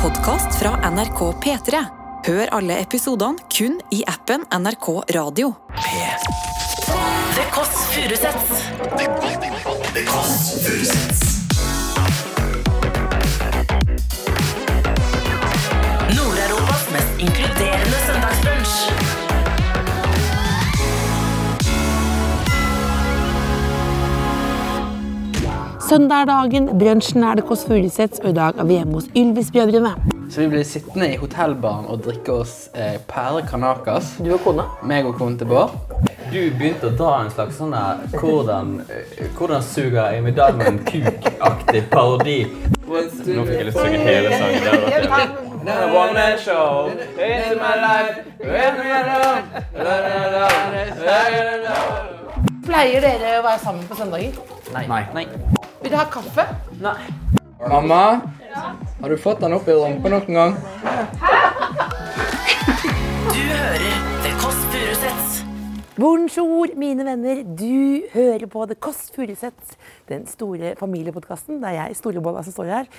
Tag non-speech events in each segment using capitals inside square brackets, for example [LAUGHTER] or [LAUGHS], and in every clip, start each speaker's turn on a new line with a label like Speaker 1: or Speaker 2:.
Speaker 1: podkast fra NRK P3. Hør alle episodene kun i appen NRK Radio.
Speaker 2: The Kåss Furuseths. Nord-Europas mest inkluderende søndagsbrunch.
Speaker 3: Søndag er dagen, brunsjen er det Kåss Furuseths, og i dag er vi hjemme hos Ylvis-brødrene.
Speaker 4: Så vi ble sittende i hotellbaren og drikke oss eh, perle kanakas.
Speaker 3: Du og kona?
Speaker 4: Meg og kona til Bård.
Speaker 5: Du begynte å dra en slags sånn her hvordan, eh, hvordan suger jeg medaljen kuk-aktig parodi. Nå fikk jeg lyst til å synge hele sangen. Det hadde vært jævlig.
Speaker 6: Pleier dere å være sammen på søndager?
Speaker 4: Nei. Nei.
Speaker 6: Vil dere ha kaffe?
Speaker 4: Mamma? Har du fått den opp i rumpa noen gang?
Speaker 2: Du hører The Kåss Furuseths.
Speaker 3: Bonjour, mine venner. Du hører på The Kåss Furuseths, den store familiepodkasten. Det er jeg, storebolla, som altså står her.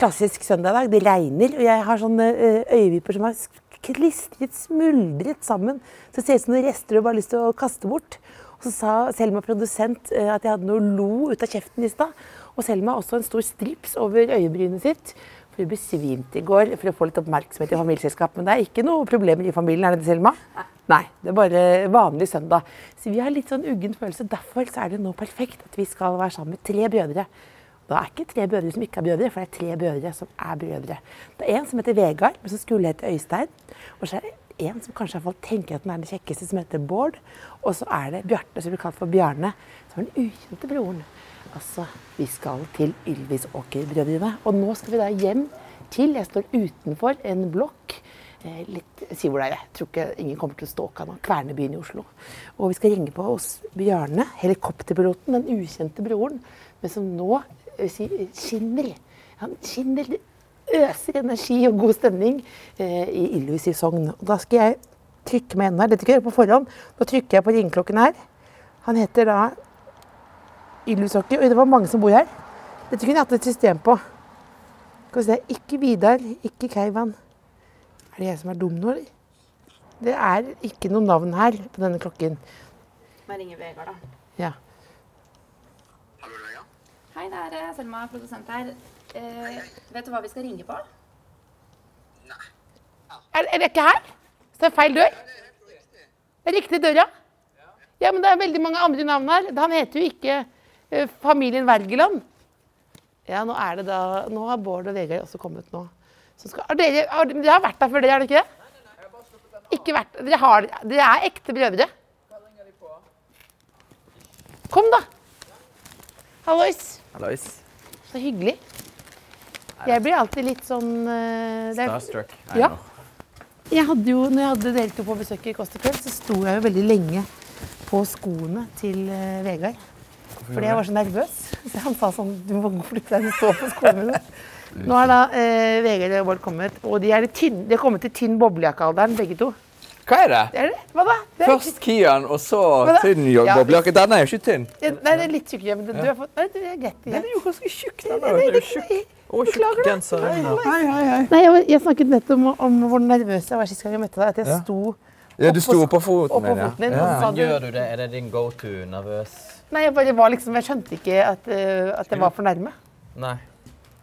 Speaker 3: Klassisk søndagdag. Det regner, og jeg har sånne eh, øyevipper som har sk- klistret, smuldret sammen. Så det ser ut som noen rester du bare har lyst til å kaste bort. Og så sa Selma, produsent, eh, at jeg hadde noe lo ut av kjeften i stad. Og Selma har også en stor strips over øyebrynet sitt. For hun besvimte i går for å få litt oppmerksomhet i familieselskap. Men det er ikke noe problemer i familien, er det det, Selma? Nei, det er bare vanlig søndag. Så vi har litt sånn uggen følelse. Derfor så er det nå perfekt at vi skal være sammen med tre brødre. Da er ikke tre brødre som ikke er brødre, for det er tre brødre som er brødre. Det er en som heter Vegard, men som skulle hete Øystein. Og så er det en som kanskje i hvert fall tenker at den er den kjekkeste, som heter Bård. Og så er det Bjarte, som blir kalt for Bjarne. Som er den ukjente broren. Altså, vi skal til Ylvisåker-brødrene. Og nå skal vi da hjem til Jeg står utenfor en blokk. Eh, Litt, si hvor det er. Jeg tror ikke ingen kommer til å stalke han. Kvernebyen i Oslo. Og vi skal ringe på hos Bjarne, helikopterpiloten, den ukjente broren, men som nå eh, si, skinner. Han skinner, det øser energi og god stemning eh, i Ylvis i Sogn. Og da skal jeg trykke med enden her. Dette kan jeg gjøre på forhånd. Nå trykker jeg på ringeklokken her. Han heter da Illushockey. Oi, det var mange som bor her. Dette kunne jeg hatt et system på. Skal vi se. Ikke Vidar, ikke Keivan. Er det jeg som er dum nå, eller? Det er ikke noe navn her på denne klokken.
Speaker 7: Må jeg ringe Vegard, da.
Speaker 3: Ja.
Speaker 7: Hei, det er eh, Selma, produsent her. Eh, vet du hva vi skal ringe på?
Speaker 3: Er, er det ikke her? Så det er feil dør? Det er riktig døra? Ja, men det er veldig mange andre navn her. Han heter jo ikke eh, familien Wergeland. Ja, nå er det da Nå har Bård og Vegard også kommet nå. Så skal, har dere, har, dere har vært der før, dere, har dere ikke det? Ikke vært Dere, har, dere er ekte brødre? Kom, da. Hallois.
Speaker 4: Hallois.
Speaker 3: Så hyggelig. Jeg blir alltid litt sånn eh, det er-
Speaker 5: Starstruck.
Speaker 3: Ja. jeg hadde jo, når jeg hadde dere to på besøk i Kåss til kveld, så sto jeg jo veldig lenge på skoene til eh, Vegard. Fordi jeg var så nervøs. [LAUGHS] Så han sa sånn Du må flytte deg, du står på
Speaker 8: [LAUGHS]
Speaker 3: skoene mine. Nå er da eh, Vegard og Bård kommet, og de er, i tynn, de er kommet til tynn boblejakkealderen, begge to.
Speaker 8: Hva er det?
Speaker 3: Er det? Hva da? Det er,
Speaker 8: Først Kian, og så
Speaker 3: da?
Speaker 8: tynn
Speaker 3: Ja.
Speaker 8: joggeboblejakke. Den er jo ikke tynn.
Speaker 3: det, nei, det er litt tjukk, men du har fått Nei, du er greit.
Speaker 8: Den er jo ganske tjukk. den
Speaker 3: Nei,
Speaker 8: er jo
Speaker 3: det-
Speaker 8: tjukk.
Speaker 3: nei.
Speaker 8: Og tjukk
Speaker 3: Beklager det.
Speaker 5: Genser under.
Speaker 8: Hei, hei, hei.
Speaker 3: Nei, jeg, jeg snakket nettopp om, om hvor nervøs jeg var sist gang jeg møtte deg. At jeg
Speaker 8: Ja.
Speaker 3: sto
Speaker 8: Ja, du
Speaker 3: oppå
Speaker 8: sto
Speaker 3: sk-
Speaker 8: på foten
Speaker 3: oppå
Speaker 8: min,
Speaker 3: foten din,
Speaker 8: ja.
Speaker 3: og så sa
Speaker 8: ja.
Speaker 3: du
Speaker 5: Gjør du det? Er det din go-to? Nervøs?
Speaker 3: Nei, jeg bare var liksom Jeg skjønte ikke at, eh, at jeg var for nærme.
Speaker 5: Nei.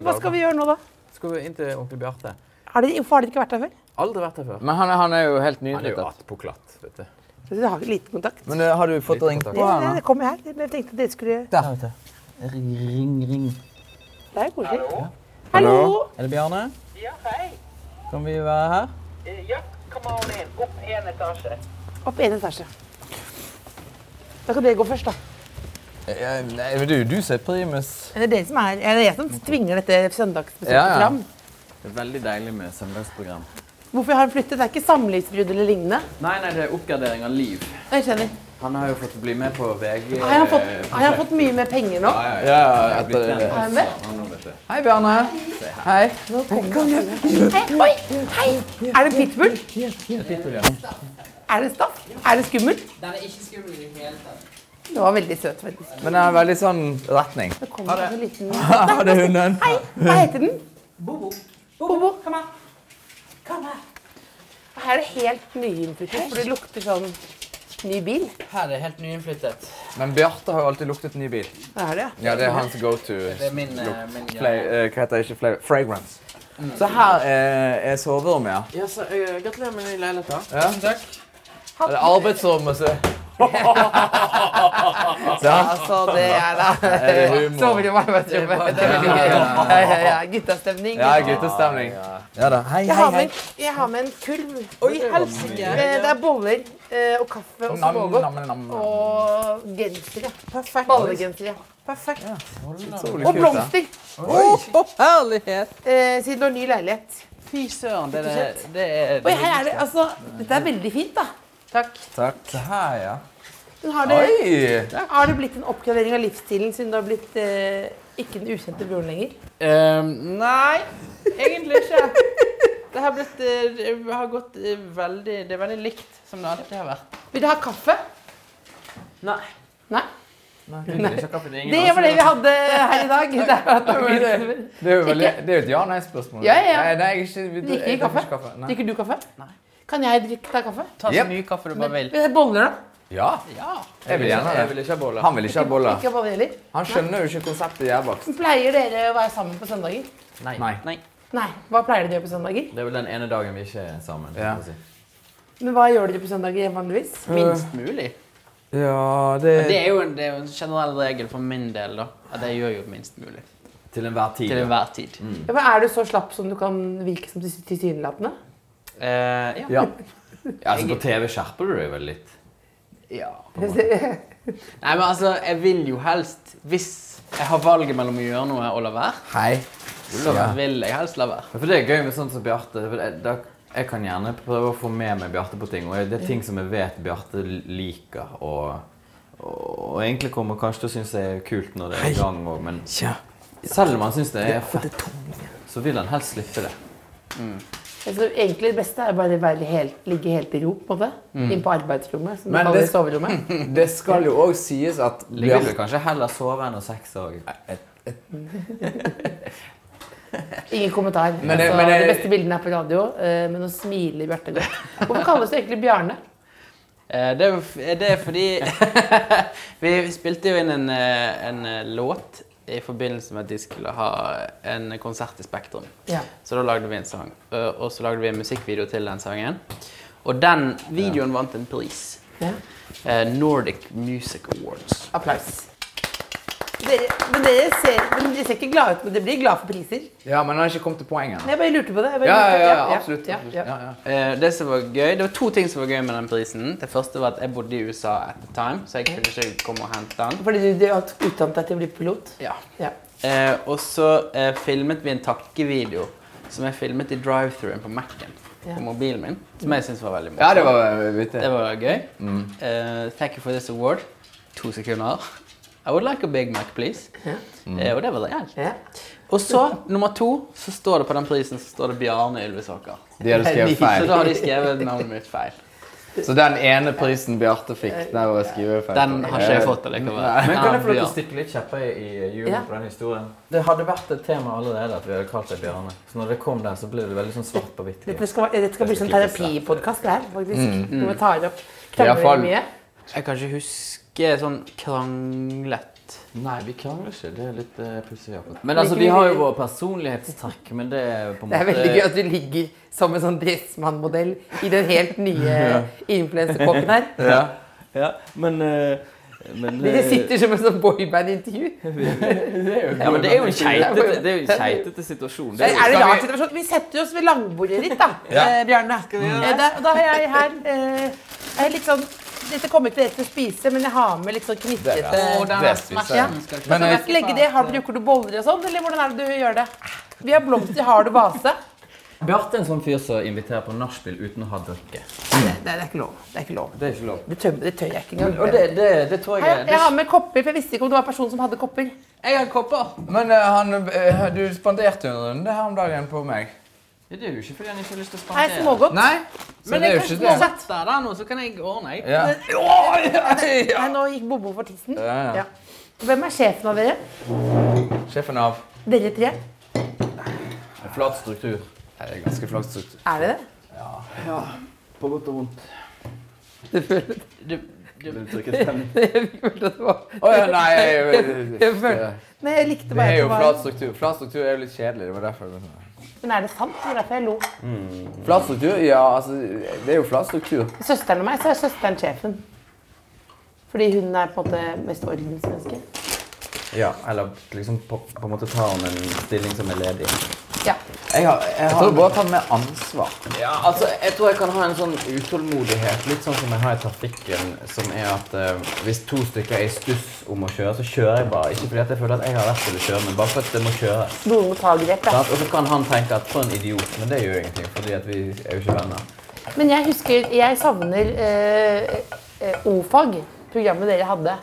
Speaker 3: Hva skal vi gjøre nå, da?
Speaker 4: Skal vi inn til onkel Bjarte?
Speaker 3: Har dere, hvorfor har dere ikke vært der før?
Speaker 4: Aldri vært her før.
Speaker 8: Men han, er- han er jo helt
Speaker 5: Han er jo
Speaker 8: nyutnyttet.
Speaker 5: attpåklatt, vet du.
Speaker 3: Dere har lite kontakt.
Speaker 8: Men eh, har du fått
Speaker 5: Lite
Speaker 8: ringt
Speaker 5: kontakt.
Speaker 8: på
Speaker 3: Ja,
Speaker 8: han?
Speaker 3: det-
Speaker 8: da?
Speaker 3: det kom jeg her. men Jeg tenkte dere skulle
Speaker 5: Der, vet du. Ring, ring, ring.
Speaker 3: Det er jo koselig. Hallo!
Speaker 5: Er det Bjarne? Ja, hei. Kan vi være her?
Speaker 3: Opp en etasje. Da kan dere gå først, da.
Speaker 8: Eh, Nei, men du, du ser primus.
Speaker 3: Det er dere som er er det jeg som tvinger dette søndagsbesøket
Speaker 8: Ja, ja.
Speaker 3: fram.
Speaker 5: Det er veldig deilig med søndagsprogram.
Speaker 3: Hvorfor har han flyttet? Det er ikke samlivsbrudd eller lignende.
Speaker 4: Nei, nei, det er oppgradering av liv.
Speaker 3: Jeg skjønner.
Speaker 4: Han har jo fått bli med på VG.
Speaker 3: Har han fått, har han fått mye mer penger nå?
Speaker 8: Ja, etter det.
Speaker 3: Har han det?
Speaker 8: Hei, Bjarne. Hei.
Speaker 3: Hei, Oi! Hei! Er det pitbull? Er det staff? Er det skummelt? Den er ikke skummel i det hele tatt. Det var veldig søt, faktisk.
Speaker 8: Men det er veldig sånn retning.
Speaker 4: [LAUGHS]
Speaker 3: Det kom en sånn liten...
Speaker 8: Ha det, hunden.
Speaker 3: Hei, hva heter den? Bobo. Bobo, kom her. Og Her er det helt nyinnflyttet, for det lukter sånn ny bil.
Speaker 9: Her er helt nyinnflyttet.
Speaker 4: Men Bjarte har jo alltid luktet ny bil.
Speaker 3: Det er det, ja.
Speaker 4: Ja, det er hans go to.
Speaker 9: Det er min, eh, min
Speaker 4: Fla
Speaker 9: greie. Mm.
Speaker 4: eh, hva heter det ikke? Fla fragrance. Så her er, er soverommet, ja.
Speaker 9: Ja, så, eh, gratulerer med ny leilighet. da.
Speaker 4: Ja, takk. Eller arbeidsrommet,
Speaker 9: [LAUGHS]
Speaker 4: så
Speaker 3: Altså, det er da
Speaker 4: er det humor.
Speaker 3: Sover i arbeidsrommet. Det er veldig gøy. Ja, ja, ja. Guttastemning.
Speaker 4: Ja, guttestemning. Ja da. Hei,
Speaker 3: Jeg
Speaker 4: hei,
Speaker 3: har
Speaker 4: hei.
Speaker 3: med, en- jeg har med en kurv. Oi, helsike! Det er boller eh, og kaffe og
Speaker 4: Nam,
Speaker 3: smågodt.
Speaker 4: nam, nam, nam.
Speaker 3: Og gensere. Perfekt. Ballegensere. Perfekt.
Speaker 4: Utrolig
Speaker 3: Og
Speaker 4: kult, da.
Speaker 3: blomster,
Speaker 9: herlighet!
Speaker 3: eh, siden du har ny leilighet.
Speaker 9: Fy søren, det er det er-
Speaker 3: Oi, her er det, altså, Dette er veldig fint, da. Takk.
Speaker 4: Takk. Det her, ja.
Speaker 3: Men har det,
Speaker 4: Oi!
Speaker 3: har det blitt en oppgradering av livsstilen siden du har blitt eh, ikke den ukjente broren lenger?
Speaker 9: Ehm, nei, egentlig ikke. Det har blitt eh, det har gått eh, veldig Det er veldig likt som det alltid har vært.
Speaker 3: Vil du ha kaffe?
Speaker 9: Nei.
Speaker 3: Nei.
Speaker 9: Ikke kaffe, det er ingen
Speaker 3: Det var det vi hadde her i dag. Det er at-
Speaker 4: Men Det det er jo veldig, det er jo et ja-nei-spørsmål.
Speaker 3: Ja, ja, ja.
Speaker 4: Nei, nei, jeg er ikke,
Speaker 3: Drikker vi
Speaker 4: jeg drikker
Speaker 3: kaffe?
Speaker 4: ikke kaffe. Nei.
Speaker 3: Drikker du kaffe? Nei. Kan jeg drikke deg kaffe?
Speaker 9: Ta så
Speaker 4: Jep.
Speaker 9: mye kaffe du bare vil.
Speaker 3: Vil jeg ha Boller, da?
Speaker 4: Ja, jeg vil gjerne
Speaker 9: Jeg
Speaker 4: det.
Speaker 9: vil ikke ha boller.
Speaker 4: Han vil ikke ha boller.
Speaker 3: Ikke hva det gjelder.
Speaker 4: Han skjønner jo ikke konseptet jærbakst.
Speaker 3: Pleier dere å være sammen på søndager?
Speaker 5: Nei.
Speaker 4: Nei.
Speaker 3: Nei. Hva pleier dere å gjøre på søndager?
Speaker 5: Det er vel den ene dagen vi ikke er sammen.
Speaker 4: Ja.
Speaker 5: kan man si.
Speaker 3: Men hva gjør dere på søndager vanligvis?
Speaker 9: Minst mulig.
Speaker 4: Ja,
Speaker 9: Det er, jo en, det er jo en generell regel for min del, da. At jeg gjør jo minst mulig.
Speaker 5: Til enhver tid.
Speaker 9: Til
Speaker 5: ja.
Speaker 9: enhver tid.
Speaker 3: Ja, men er du så slapp som du kan virke som tilsy- tilsynelatende?
Speaker 9: Eh, ja.
Speaker 5: Ja. ja, altså På TV skjerper du deg vel litt?
Speaker 9: ja. Nei, men altså, jeg vil jo helst Hvis jeg har valget mellom å gjøre noe og la være,
Speaker 4: Hei.
Speaker 9: så vil jeg helst la være.
Speaker 5: Ja, For det er gøy med sånn som Bjarte. for det- da- Jeg kan gjerne prøve å få med meg Bjarte på ting. Og det er ting som jeg vet Bjarte liker. Og, og egentlig kommer kanskje til å synes det er kult når det er i gang òg, men selv om han syns det er fett, så vil han helst slippe det.
Speaker 3: Altså, egentlig det beste er bare å være helt, ligge helt i ro, på en måte. Inn på arbeidsrommet, som du
Speaker 4: Mm. Men
Speaker 3: kaller
Speaker 4: det-
Speaker 3: det
Speaker 4: [LAUGHS]
Speaker 3: soverommet.
Speaker 4: Det skal jo òg sies at
Speaker 5: Ligger
Speaker 4: Bjarte
Speaker 5: du kanskje heller sove enn å sexe òg?
Speaker 3: Ingen kommentar.
Speaker 4: Men det-
Speaker 3: altså,
Speaker 4: men det-
Speaker 3: De beste bildene er på radio, eh, men nå smiler Bjarte godt. Hvorfor kalles du egentlig Bjarne?
Speaker 9: Eh, Det er, jo f- det er fordi Vi spilte jo inn en, eh, en eh, låt i forbindelse med at de skulle ha en konsert i Spektrum.
Speaker 3: Ja.
Speaker 9: Så da lagde vi en sang. Ø, Og så lagde vi en musikkvideo til den sangen. Og den videoen vant en pris.
Speaker 3: Ja.
Speaker 9: Eh, Nordic Music Awards.
Speaker 3: Applaus. Dere, men dere ser, men dere ser ikke glade ut, men dere blir glade for priser.
Speaker 4: Ja, men han har ikke kommet til poenget.
Speaker 3: Men jeg bare lurte på det. Jeg bare
Speaker 4: Ja,
Speaker 3: lurte på-
Speaker 4: ja, ja, absolutt.
Speaker 3: Ja, ja.
Speaker 4: Ja, ja.
Speaker 9: Eh, Det som var gøy, det var to ting som var gøy med den prisen. Det første var at jeg bodde i USA at the time, så jeg kunne ikke komme og hente den.
Speaker 3: Fordi du, du har utdannet deg til å bli pilot?
Speaker 9: Ja,
Speaker 3: Ja.
Speaker 9: Eh, og så eh, filmet vi en takkevideo som jeg filmet i drive-thruen på Mac-en.
Speaker 3: Ja. Mm.
Speaker 9: På mobilen min. Som jeg syntes var veldig morsomt.
Speaker 4: Ja, det var vittig.
Speaker 9: Det var gøy. Eh, thank you for this award. To sekunder. I would like a Big Mac, please. Eh, og det var reelt.
Speaker 3: ja.
Speaker 9: Og så, nummer to, så står det på den prisen så står det Bjarne Ylvesåker.
Speaker 4: De hadde skrevet
Speaker 9: Så da
Speaker 4: feil.
Speaker 9: har de skrevet navnet mitt feil.
Speaker 4: Så den ene prisen Bjarte fikk, den var Eh, skrevet feil.
Speaker 9: Den har ikke jeg fått allikevel.
Speaker 5: Men kan jeg få lov til å
Speaker 9: Bjarne.
Speaker 5: stikke litt kjepper i i
Speaker 3: Ja.
Speaker 5: hjulet på den historien? Det hadde vært et tema allerede at vi hadde kalt deg Bjarne. Så når det kom der, så ble det veldig sånn svart på hvitt.
Speaker 3: Dette skal, være- dette skal bli sånn terapipodkast, det her, faktisk. Når vi tar opp
Speaker 4: Mm. I hvert fall.
Speaker 3: krangler mye.
Speaker 9: Jeg kan ikke huske sånn kranglet
Speaker 5: Nei, vi krangler ikke. Det er litt uh, pussig. akkurat. Men altså, vi har jo våre personlighetstrekk, men det er på en
Speaker 3: Det
Speaker 5: måte
Speaker 3: er veldig
Speaker 4: eh,
Speaker 3: gøy at du ligger som en sånn Dressmann-modell i den helt
Speaker 4: [LAUGHS]
Speaker 3: nye influenserkåpen her.
Speaker 5: Ja, men, eh, men
Speaker 4: [LAUGHS]
Speaker 3: Dere
Speaker 5: eh,
Speaker 3: sitter som et sånn boyband-intervju.
Speaker 5: Ja, men det er jo en keitete, det er jo en keitete situasjon. Det
Speaker 3: Er
Speaker 5: er jo
Speaker 3: det rar situasjon? Vi setter oss ved langbordet ditt, da, eh, Bjarne.
Speaker 4: Mm.
Speaker 3: Eh, der- Og da har jeg her eh, jeg er litt sånn Dette kommer ikke dere til å spise, men jeg har med litt sånn knyttete
Speaker 4: Det spiser jeg. Men
Speaker 3: Skal
Speaker 4: jeg,
Speaker 3: jeg legge det? Har, bruker du boller og sånn, eller hvordan er det du gjør det? Vi har blomster, har du vase?
Speaker 5: Bjarte er en sånn fyr som inviterer på nachspiel uten å ha drikke.
Speaker 3: Nei, det er ikke lov. Det er ikke lov.
Speaker 5: Det er ikke lov.
Speaker 3: Det tør, det tør jeg ikke engang.
Speaker 5: Og det, det, det tror
Speaker 3: Hei,
Speaker 5: jeg
Speaker 3: jeg har med kopper, for jeg visste ikke om det var en person som hadde kopper.
Speaker 9: Jeg har kopper.
Speaker 4: men eh, han, eh, du spanderte jo en runde her om dagen på meg.
Speaker 9: Det er jo ikke fordi han ikke har lyst til å
Speaker 3: Nei, smågodt.
Speaker 4: Nei, så det er jo ikke det.
Speaker 9: Sett deg der nå, så kan jeg ordne. Jeg.
Speaker 4: Ja.
Speaker 3: Nei, nå gikk Bobo for tissen.
Speaker 4: Ja, ja.
Speaker 3: Ja. Hvem er sjefen av dere?
Speaker 4: Sjefen av
Speaker 3: Dere tre?
Speaker 5: Flat struktur. Det er ganske flat struktur.
Speaker 3: Er det det?
Speaker 5: På godt og vondt.
Speaker 10: Du følte
Speaker 9: Du, du,
Speaker 5: Ble trykket frem.
Speaker 10: Jeg følte at det var
Speaker 5: Å ja, nei
Speaker 4: [LAUGHS]
Speaker 5: jeg,
Speaker 10: Jeg følte-
Speaker 3: Nei, jeg likte
Speaker 5: Det
Speaker 3: bare
Speaker 5: er
Speaker 3: at
Speaker 5: jo
Speaker 3: det
Speaker 5: flat
Speaker 3: var
Speaker 5: struktur. Flat struktur er jo litt kjedelig. Det var derfor jeg
Speaker 3: Men er det sant? Det var derfor jeg lo.
Speaker 5: Flat struktur? Ja, altså Det er jo flat struktur.
Speaker 3: Søsteren og meg, så er søsteren sjefen. Fordi hun er på en måte mest ordensmenneske.
Speaker 5: Ja, eller liksom på, på en måte tar hun en stilling som er ledig.
Speaker 3: Ja.
Speaker 5: Jeg, har, jeg, tror du bare tar mer ansvar. Ja, altså, Jeg tror jeg kan ha en sånn utålmodighet, litt sånn som jeg har i trafikken, som er at eh, hvis to stykker er i stuss om å kjøre, så kjører jeg bare. Ikke fordi at jeg føler at jeg har rett til å kjøre, men bare fordi at det må kjøre.
Speaker 3: Noen må ta grep, da.
Speaker 5: Sant? Og så kan han tenke at for en idiot, men det gjør jo ingenting, fordi at vi er jo ikke venner.
Speaker 3: Men jeg husker Jeg savner eh, eh, O-fag. Programmet dere hadde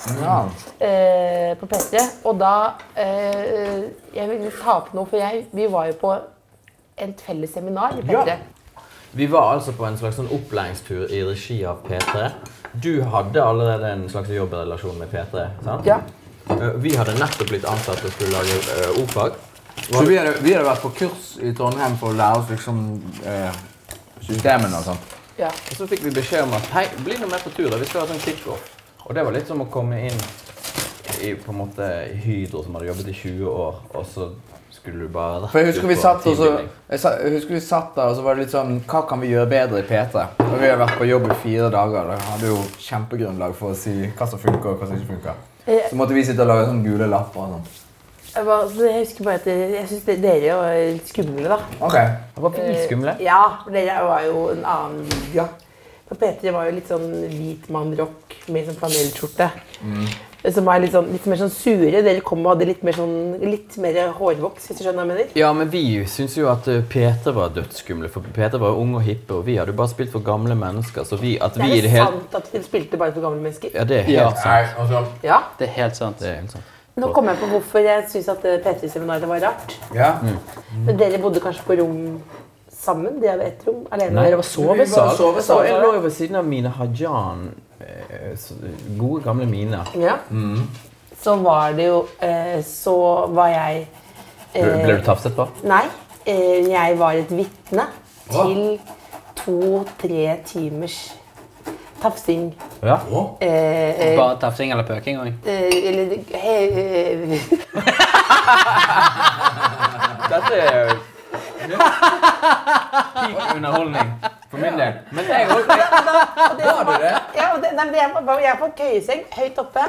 Speaker 3: eh, på P3. Og da eh, Jeg ville ta opp noe, for jeg, vi var jo på et felles seminar i P3.
Speaker 5: Vi var altså på en slags sånn opplæringstur i regi av P3. Du hadde allerede en slags jobbrelasjon med P3, sant?
Speaker 3: Ja.
Speaker 5: Eh, Vi hadde nettopp blitt ansatt og skulle lage eh, ordfag.
Speaker 4: Så vi hadde, vi hadde vært på kurs i Trondheim for å lære oss liksom eh, systemene og sånt.
Speaker 3: Ja.
Speaker 5: Og så fikk vi beskjed om at hei, bli nå med på tur, da. vi skal ha sånn kickoff. Og det var litt som å komme inn i på en måte i Hydro, som hadde jobbet i 20 år, og så skulle du bare rett
Speaker 4: For jeg husker,
Speaker 5: ut
Speaker 4: vi
Speaker 5: på
Speaker 4: satt, og så,
Speaker 5: teambuilding.
Speaker 4: jeg, sa, jeg husker vi satt der, og så var det litt sånn Hva kan vi gjøre bedre i P3? Og vi hadde vært på jobb i fire dager. Da hadde jo kjempegrunnlag for å si hva som funker, og hva som ikke funker.
Speaker 3: Eh.
Speaker 4: Så måtte vi sitte og lage sånne gule lapper og sånn.
Speaker 3: Jeg, var, så jeg husker bare at dere- jeg syns dere var litt skumle, da.
Speaker 4: Ok.
Speaker 5: Var vi skumle?
Speaker 3: Eh, Ja, for dere var jo en annen liga. For P3 var jo litt sånn hvit mann-rock med sånn flanellskjorte. Mm. Som var litt, sånn, litt mer sånn sure. Dere kom og hadde litt mer, sånn, litt mer hårvoks, hvis du skjønner hva jeg mener.
Speaker 5: Ja, men vi syns jo at eh, Peter var dødsskumle, for Peter var jo ung og hippe, og vi hadde jo bare spilt for gamle mennesker, så vi at
Speaker 3: Det
Speaker 5: vi
Speaker 3: er
Speaker 5: i det
Speaker 3: det
Speaker 5: hele
Speaker 3: sant at dere spilte bare for gamle mennesker?
Speaker 5: Ja, det er helt
Speaker 9: Ja.
Speaker 5: sant.
Speaker 4: Nei, og så
Speaker 3: Ja.
Speaker 9: det er helt sant.
Speaker 5: Det er helt sant.
Speaker 3: Nå kom jeg på hvorfor jeg syns at eh, P3-seminaret var rart.
Speaker 4: Ja.
Speaker 3: Mm. Men dere bodde kanskje på rom sammen? De hadde ett rom alene. og Dere var så
Speaker 5: Vi bare
Speaker 3: besal.
Speaker 5: sover, sover. Jeg lå jo ved siden av Mine Hajan. eh, så- Gode, gamle Mina.
Speaker 3: Ja. Så var det jo eh, Så var jeg eh,
Speaker 5: Ble du tafset på?
Speaker 3: Nei, eh, jeg var et vitne til to-tre timers tafsing.
Speaker 5: Ja.
Speaker 3: Eh, eh,
Speaker 9: Bare tafsing eller pøking òg.
Speaker 3: eh, eller he- eh,
Speaker 5: Dette er jo Peak underholdning for min del. Men jeg òg.
Speaker 3: ja, og det, nei, men jeg, var- jeg var på køyeseng høyt oppe,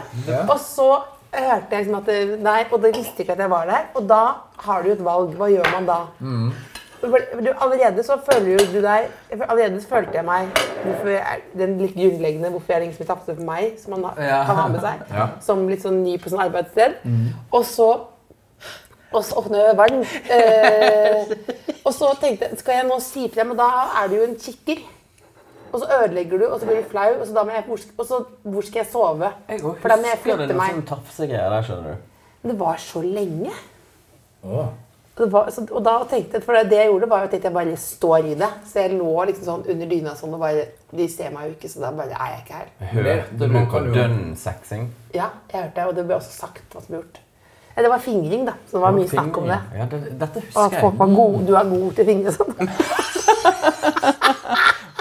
Speaker 3: og så hørte jeg liksom at det- Nei, og det visste ikke at jeg var der. Og da har du et valg. Hva gjør man da?
Speaker 4: Mm.
Speaker 3: For- Du, allerede så føler jo du deg Allerede så følte jeg meg hvorfor er, Den litt grunnleggende hvorfor er det ingen som vil tapse for meg, som man har,
Speaker 4: Ja.
Speaker 3: kan ha med seg.
Speaker 4: Ja. Mm.
Speaker 3: Som litt sånn ny på sånn arbeidssted. Og så og så åpner jeg verden.
Speaker 4: [LAUGHS]
Speaker 3: Eh, og så tenkte jeg, skal jeg nå si frem, og da er du jo en kikker. Og så ødelegger du, og så blir du flau, og så da må jeg, hvor, sk- og så, hvor skal jeg sove? For da må jeg flytte meg.
Speaker 5: sånn tafsegreier der, skjønner du.
Speaker 3: Det var så lenge. Det var, så, og da tenkte jeg, for det jeg gjorde var jo at jeg bare står i det. Så jeg lå liksom sånn under dyna sånn, og bare, de ser meg jo ikke, så da bare er jeg ikke her.
Speaker 5: Hørte du
Speaker 4: Man
Speaker 5: på
Speaker 4: kan jo-
Speaker 5: dønn-sexing?
Speaker 3: Ja, jeg hørte det, og det ble også sagt hva som ble gjort. Nei, Det var fingring da, så det var mye snakk om det.
Speaker 5: Ja, det, dette
Speaker 3: Og at
Speaker 5: husker jeg.
Speaker 3: folk var gode, du er god til fingre og sånn.
Speaker 5: [LAUGHS]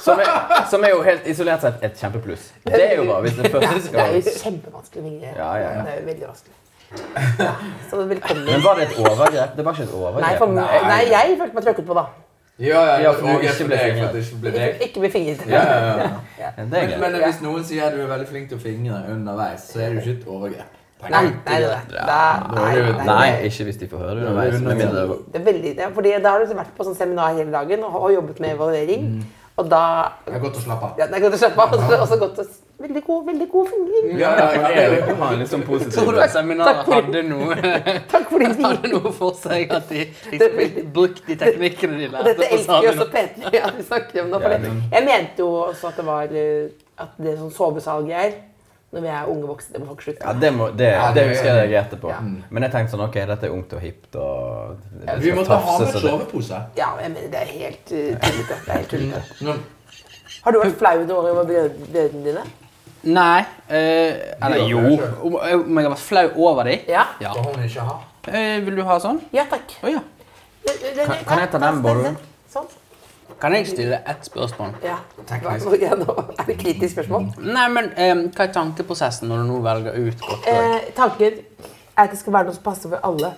Speaker 5: Som er, som er jo helt isolert sett et kjempepluss. Det er jo bra hvis det
Speaker 3: Ja,
Speaker 5: første
Speaker 3: det er jo
Speaker 5: skal
Speaker 3: kjempevanskelig å vingle.
Speaker 5: Ja, ja, ja.
Speaker 3: Det er jo veldig vanskelig. Ja, så velkommen.
Speaker 5: Men var det et overgrep? Det var ikke et overgrep.
Speaker 3: Nei, for, nei, jeg følte meg tråkket på, da.
Speaker 4: Ja, ja,
Speaker 5: Ja,
Speaker 4: ja, og
Speaker 5: for du
Speaker 4: jeg
Speaker 5: ikke
Speaker 4: for
Speaker 5: ble
Speaker 4: deg, for
Speaker 5: fingret.
Speaker 4: at det ikke ble
Speaker 3: Ikke,
Speaker 4: deg.
Speaker 3: ikke bli fingret.
Speaker 4: Ja, ja,
Speaker 3: [LAUGHS]
Speaker 4: ja.
Speaker 5: Det er
Speaker 4: [LAUGHS] Men,
Speaker 5: greit.
Speaker 4: men hvis noen sier at du er veldig flink til å fingre underveis, så er det jo ikke et overgrep.
Speaker 3: Nei, nei, nei, nei, nei, nei, nei.
Speaker 5: Nei, ikke hvis de får høre det underveis. Med mindre
Speaker 3: Det er veldig, ja, fordi da har du vært på sånn seminar hele dagen og, og jobbet med evaluering. Og da
Speaker 4: Det er godt å slappe av.
Speaker 3: ja, Det er godt å slappe av. og så- Og så godt å s- Veldig god, veldig god fingring.
Speaker 4: Ja, ja, ja, ja.
Speaker 9: Jeg har en litt sånn positiv Seminaret hadde noe,
Speaker 3: Takk for din
Speaker 9: hadde
Speaker 3: viten.
Speaker 9: noe for seg. At de liksom, brukte de teknikkene de
Speaker 3: Og
Speaker 9: lærte.
Speaker 3: dette
Speaker 9: på
Speaker 3: elsker jo
Speaker 9: scenen.
Speaker 3: også Peter at vi snakker om nå. For
Speaker 5: Ja,
Speaker 3: det. Jeg mente jo også at det var eh, at det er sånn sovesalgreier når vi er unge voksne. Det må folk slutte med.
Speaker 5: Ja, det, må, det,
Speaker 4: Ja,
Speaker 5: det
Speaker 4: det-
Speaker 5: husker jeg jeg reagerte på.
Speaker 3: Ja.
Speaker 9: Mm.
Speaker 5: Men jeg tenkte sånn Ok, dette er ungt og hipt og det skal
Speaker 4: Vi måtte ha
Speaker 5: tafses
Speaker 4: med
Speaker 5: og det-
Speaker 4: sovepose.
Speaker 3: Ja, jeg mener, det er helt eh, tullete. Det er helt tullete.
Speaker 4: Nå-
Speaker 3: Har du vært flau noen gang over brød- brødrene dine?
Speaker 9: Nei. eh, eller
Speaker 4: Du
Speaker 9: jo.
Speaker 4: gjør det selv.
Speaker 9: Om om jeg har vært flau over dem?
Speaker 3: Ja.
Speaker 9: Ja.
Speaker 4: Da har hun ikke hatt.
Speaker 9: Eh, vil du ha sånn?
Speaker 3: Ja takk.
Speaker 9: Å ja. Kan- kan jeg ta den bollen?
Speaker 3: Sånn.
Speaker 9: Kan jeg stille ett spørsmål?
Speaker 3: Ja. Hva, ja nå, er det kritisk spørsmål?
Speaker 9: Nei, men eh, Hva er tankeprosessen når du nå velger ut godt lag?
Speaker 3: Eh, tanken er at det skal være noe som passer for alle.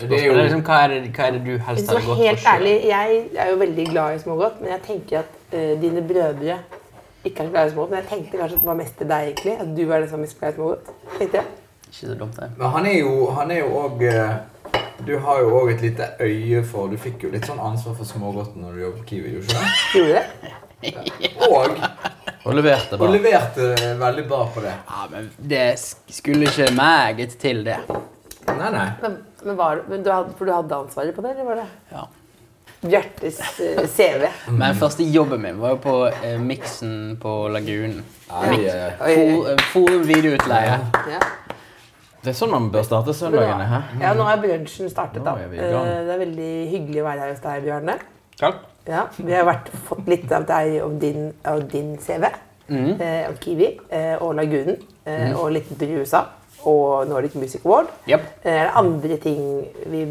Speaker 9: Det er jo liksom, hva, er det, hva er det du helst
Speaker 3: Så
Speaker 9: hadde gått for
Speaker 3: helt
Speaker 9: selv?
Speaker 3: ærlig, jeg er jo veldig glad i smågodt, men jeg tenker at eh, dine brødre ikke er så glad i smågodt. Men jeg tenkte kanskje at det var mest til deg, egentlig. At du er den som er mest glad i smågodt. Tenkte jeg.
Speaker 9: Ikke så dumt, det.
Speaker 4: Men han er jo han er jo òg Du har jo òg et lite øye for Du fikk jo litt sånn ansvar for smågodten når du jobbet på Kiwi. gjorde du
Speaker 3: Gjorde du det?
Speaker 4: ikke
Speaker 5: [LAUGHS]
Speaker 4: det? Og
Speaker 5: Og leverte
Speaker 4: du
Speaker 5: bra.
Speaker 4: leverte eh, veldig bra på det.
Speaker 9: Ja, men det sk- skulle ikke meget til, det.
Speaker 4: Nei, nei.
Speaker 3: Men, men var, men du hadde, for du hadde ansvaret på det, eller var det
Speaker 9: Ja.
Speaker 3: Bjartes eh, CV?
Speaker 5: Mm.
Speaker 9: Men første jobben min var jo på eh, Mixen på Lagunen.
Speaker 4: Ai, eh,
Speaker 3: Oi, oi, oi.
Speaker 9: For, eh, for videoutleie.
Speaker 3: Ja.
Speaker 5: Det er sånn man bør starte søndagene. Hæ?
Speaker 3: ja, nå har brunsjen startet, da.
Speaker 5: Nå er vi i gang.
Speaker 3: Eh, det er veldig hyggelig å være her hos deg, Bjarne.
Speaker 9: Takk.
Speaker 3: Ja, Vi har vært, fått litt av deg om din, av din CV. Eh, om Kiwi eh, og Lagunen. Eh, Og litt til USA. Og Nordic Music Award.
Speaker 9: Jep.
Speaker 3: Eh, er det andre ting vi,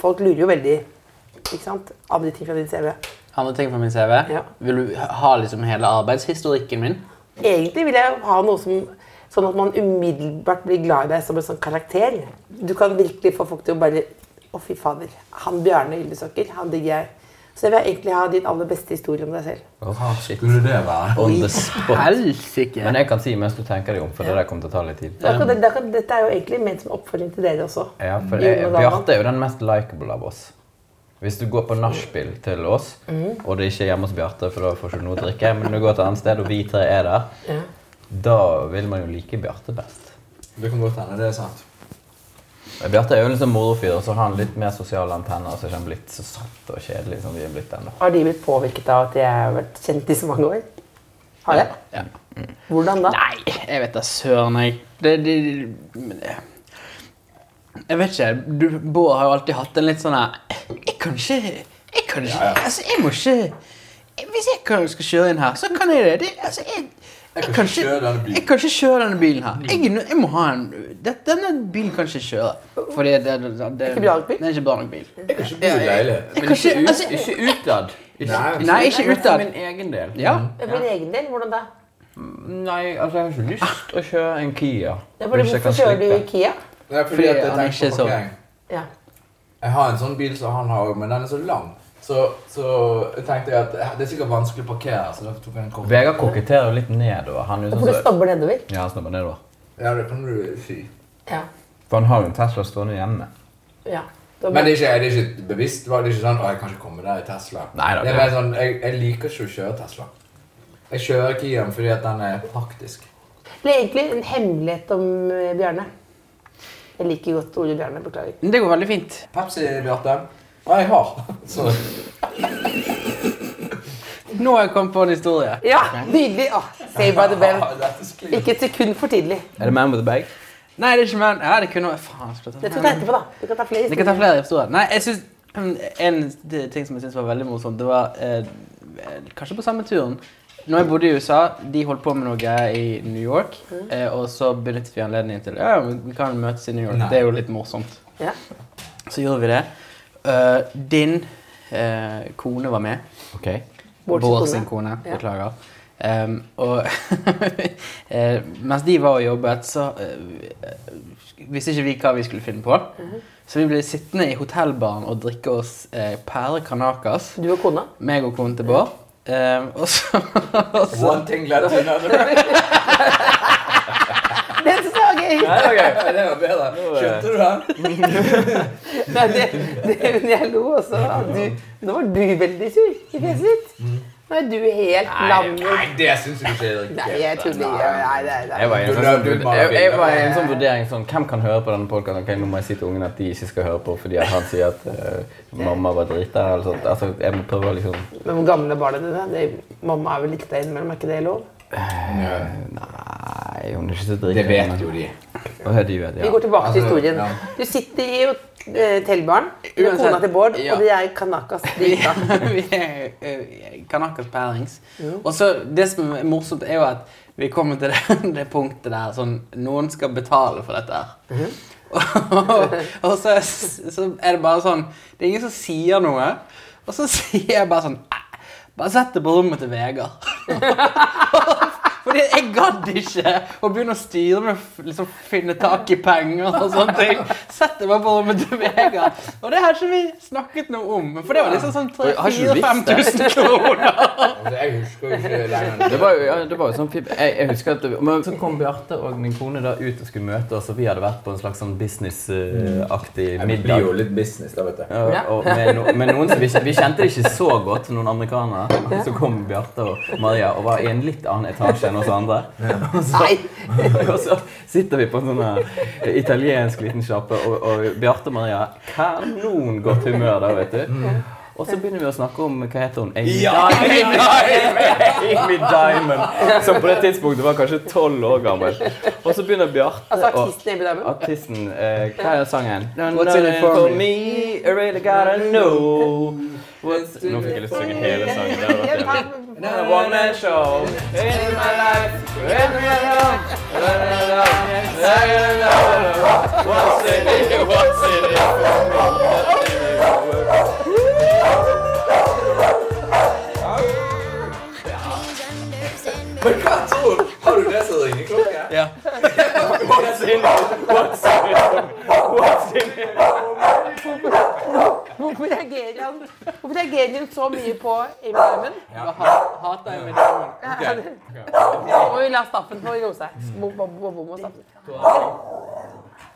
Speaker 3: Folk lurer jo veldig ikke sant? Andre ting fra din CV.
Speaker 9: Andre ting fra min CV.
Speaker 3: Ja.
Speaker 9: Vil du ha liksom hele arbeidshistorikken min?
Speaker 3: Egentlig vil jeg ha noe som Sånn at man umiddelbart blir glad i deg som en sånn karakter. Du kan virkelig få folk til å bare Å, fy fader. Han Bjarne Ylvesåker, han digger jeg. Så jeg vil egentlig ha din aller beste historie om deg selv.
Speaker 5: Hva
Speaker 4: Skulle det være?
Speaker 5: On the spot.
Speaker 9: Helsike!
Speaker 5: Men jeg kan si mens du tenker deg om, for det der kommer til å ta litt tid.
Speaker 3: Da kan, da kan, dette er jo egentlig ment som oppfølging til dere også.
Speaker 5: Ja, for
Speaker 3: Jorden
Speaker 5: jeg,
Speaker 3: og Dalan.
Speaker 5: Bjarte er jo den mest likeable av oss. Hvis du går på nachspiel til oss, og det ikke er hjemme hos Bjarte, for da får du ikke noe å drikke, men du går et annet sted, og vi tre er der, da vil man jo like Bjarte best.
Speaker 4: Det kan godt hende. Det er sant.
Speaker 5: Men Bjarte er jo litt sånn morofyr, og så har han litt mer sosiale antenner, og så er ikke han blitt så satt og kjedelig som vi er blitt ennå.
Speaker 3: Har de blitt påvirket av at jeg har vært kjent i så mange år? Har jeg?
Speaker 9: Ja.
Speaker 3: Hvordan da?
Speaker 9: Nei, jeg vet da søren, jeg. Det, det, men det. Jeg vet ikke. Du, Bård har jo alltid hatt en litt sånn her Jeg kan ikke Jeg kan ikke Altså, jeg må ikke jeg- Hvis jeg kan, skal kjøre inn her, så kan jeg det. det altså, jeg, jeg,
Speaker 4: kan
Speaker 9: kan
Speaker 4: ikke kjøre denne bilen.
Speaker 9: jeg kan ikke kjøre denne bilen her. Jeg, er nø- jeg må ha en det, Denne bilen kan ikke kjøre. Fordi det, det, det, det
Speaker 3: Ikke bra nok bil?
Speaker 9: Det er ikke bra nok bil.
Speaker 4: Jeg kan ikke bo i leilighet.
Speaker 9: Jeg kan ikke, altså,
Speaker 5: Ikke utad.
Speaker 4: Nei.
Speaker 9: nei, ikke utad.
Speaker 5: min egen del.
Speaker 9: Ja.
Speaker 3: For min egen del, hvordan da?
Speaker 5: Nei, altså, jeg har ikke lyst til å kjøre en Kia.
Speaker 3: Ja, bare,
Speaker 5: Hvis jeg kan
Speaker 3: hvorfor kjører du
Speaker 5: slippe. Altså-
Speaker 3: Ikea?
Speaker 4: Det er fordi,
Speaker 9: Fordi
Speaker 4: at jeg
Speaker 9: han
Speaker 4: tenker
Speaker 9: ikke
Speaker 4: på
Speaker 9: så-
Speaker 4: parkering.
Speaker 5: sånn-
Speaker 3: Ja.
Speaker 4: Jeg har en sånn bil som han har, men den er så lang. Så, så jeg tenkte jeg at eh, det er sikkert vanskelig å parkere. så derfor tok jeg en kort.
Speaker 5: Vegard koketterer jo litt nedover. Han er jo
Speaker 3: For du
Speaker 5: sånn som...
Speaker 3: stabber nedover?
Speaker 5: Ja, han snubber nedover.
Speaker 4: Ja, det kan du si.
Speaker 3: Ja.
Speaker 5: For han har jo en Tesla stående hjemme.
Speaker 3: ja. Da-
Speaker 4: Men det er ikke, det er ikke bevisst? var Det ikke sånn, å, jeg kan ikke komme der i Tesla.
Speaker 5: Neida,
Speaker 4: det er
Speaker 5: det-
Speaker 4: bare sånn, jeg, jeg liker ikke å kjøre Tesla. Jeg kjører Kiaen fordi at den er praktisk.
Speaker 3: Det er egentlig en hemmelighet om eh, Bjarne. Jeg liker godt ordet Bjarne, beklager.
Speaker 9: Men Det går veldig fint.
Speaker 4: Pepsi, Bjarte? Ja, jeg har. [LAUGHS] Så,
Speaker 9: Nå har jeg kommet på en historie.
Speaker 3: Ja, nydelig! Åh, save by the
Speaker 4: [LAUGHS]
Speaker 3: bell.
Speaker 4: Ja, Ah, dette sklir.
Speaker 3: Ikke et sekund for tidlig.
Speaker 5: Er det Man with a Bag?
Speaker 9: Nei, det er ikke mer. Ja, det kunne vært Faen. jeg skulle ta-
Speaker 3: Det tar vi etterpå, da. Vi kan ta flere
Speaker 9: Det kan ta
Speaker 3: historier.
Speaker 9: flere historier. Nei, jeg synes, En d- ting som jeg synes var veldig morsomt, det var eh, kanskje på samme turen. Når jeg bodde i USA, de holdt på med noe greier i New York.
Speaker 3: Mm.
Speaker 9: Eh, og så benyttet vi anledningen til ja, men vi kan møtes i New York.
Speaker 4: Nei.
Speaker 9: Det er jo litt morsomt.
Speaker 3: Ja.
Speaker 9: Så gjorde vi det. Eh, din eh, kone var med.
Speaker 5: Ok.
Speaker 3: Bård
Speaker 9: Bård,
Speaker 3: sin
Speaker 9: sin
Speaker 3: kone.
Speaker 9: kone.
Speaker 3: Ja.
Speaker 9: Beklager. Ehm, og [LAUGHS] eh, mens de var og jobbet, så eh, visste ikke vi hva vi skulle finne på.
Speaker 3: Mm.
Speaker 9: Så vi ble sittende i hotellbaren og drikke oss eh, pære kanakas.
Speaker 3: Du og kona?
Speaker 9: Meg og konen til Bård. Ehm, og så, og så
Speaker 4: One thing led
Speaker 3: [LAUGHS]
Speaker 4: to another. [LAUGHS]
Speaker 3: Det synes jeg var gøy!
Speaker 4: Nei, ok, Det var bedre. Skjønte du den?
Speaker 3: Nei, det, det, men jeg lo også. at Du, nå var du veldig sur i fjeset ditt. Nå er du helt lam.
Speaker 4: Nei, det syns jeg ikke er riktig.
Speaker 3: Nei, jeg tuller. Nei, nei, nei.
Speaker 5: Jeg var i en
Speaker 4: Du
Speaker 5: sånn,
Speaker 4: løp ut bare
Speaker 5: jeg, jeg
Speaker 4: bilder.
Speaker 5: var i en sånn vurdering sånn Hvem kan høre på denne podkasten? Ok, nå må jeg si til ungene at de ikke skal høre på fordi at han sier at eh, mamma var drita eller sånt. Altså, jeg må prøve å liksom
Speaker 3: Men hvor gamle er barna dine? Det, mamma er vel litt der innimellom, er ikke det lov?
Speaker 5: Nei, hun er ikke så drita.
Speaker 4: Det vet jo de.
Speaker 5: Å, ja, de vet,
Speaker 3: Vi
Speaker 5: ja.
Speaker 3: går tilbake til
Speaker 4: Altså,
Speaker 3: historien.
Speaker 4: ja.
Speaker 3: Du sitter i hotellbaren med
Speaker 9: Uansett,
Speaker 3: kona til Bård,
Speaker 9: ja.
Speaker 3: og de er
Speaker 9: [LAUGHS]
Speaker 3: kanakas drita.
Speaker 9: [LAUGHS] vi er eh, kanakas pærings. Og så det som er morsomt, [LAUGHS] er jo at vi kommer til det, det punktet der sånn Noen skal betale for dette her. [LAUGHS] og så, så er det bare sånn Det er ingen som sier noe. Og så sier jeg bare sånn "Æ, Bare sett det på rommet til Vegard. Fordi jeg gadd ikke å begynne å styre med å liksom, finne tak i penger og sånne ting. Sett det bare på rommet til Vegard. Og det har ikke vi snakket noe om. For det var liksom sånn
Speaker 5: Oi, har ikke du visst
Speaker 9: 3-4-5
Speaker 5: det? [LAUGHS]
Speaker 9: 000 kroner.
Speaker 4: Altså, jeg husker jo [LAUGHS] ikke lenger.
Speaker 5: Det var jo, ja, det var jo sånn pip. Jeg, jeg husker at det, men Så kom Bjarte og min kone da ut og skulle møte oss, og vi hadde vært på en slags sånn businessaktig
Speaker 4: Jeg blir
Speaker 5: middag.
Speaker 4: jo litt business, da, vet du.
Speaker 5: Ja, og med, no, med noen som vi, ikke- vi kjente det ikke så godt, noen amerikanere. Så kom Bjarte og Maria og var i en litt annen etasje enn oss andre. [LAUGHS] Og så, og så sitter vi på en sånn her italiensk liten sjappe, og, og Bjarte og Maria kanongodt humør der, vet du. Og så begynner vi å snakke om hva heter hun? Amy
Speaker 4: Ja,
Speaker 5: Diamond. Amy Diamond. Som på det tidspunktet var kanskje tolv år gammel. Og så begynner Bjarte
Speaker 3: Altså
Speaker 5: å-
Speaker 3: artisten Amy Diamond?
Speaker 5: Artisten eh, Hva er sangen?
Speaker 9: What's in it for me?
Speaker 5: me, I really gotta know What's... Nå fikk jeg lyst til å synge hele sangen. Det hadde vært jævlig. Another one man show in my life, in my life. La, la, la, la, la, la, la. What's in it? What's in it for me? What's in it for me?
Speaker 4: Men hva tror du? Har du det som ringeklokke?
Speaker 9: Ja.
Speaker 5: What's in it? What's in it for me? What's in it?
Speaker 3: Hvorfor reagerer han Hvorfor reagerer han så mye på Amy Diamond?
Speaker 9: Hater jeg mitt navn.
Speaker 3: Og vi la Staffen få roe seg. Bom, bom, bom, bom, og Staffen.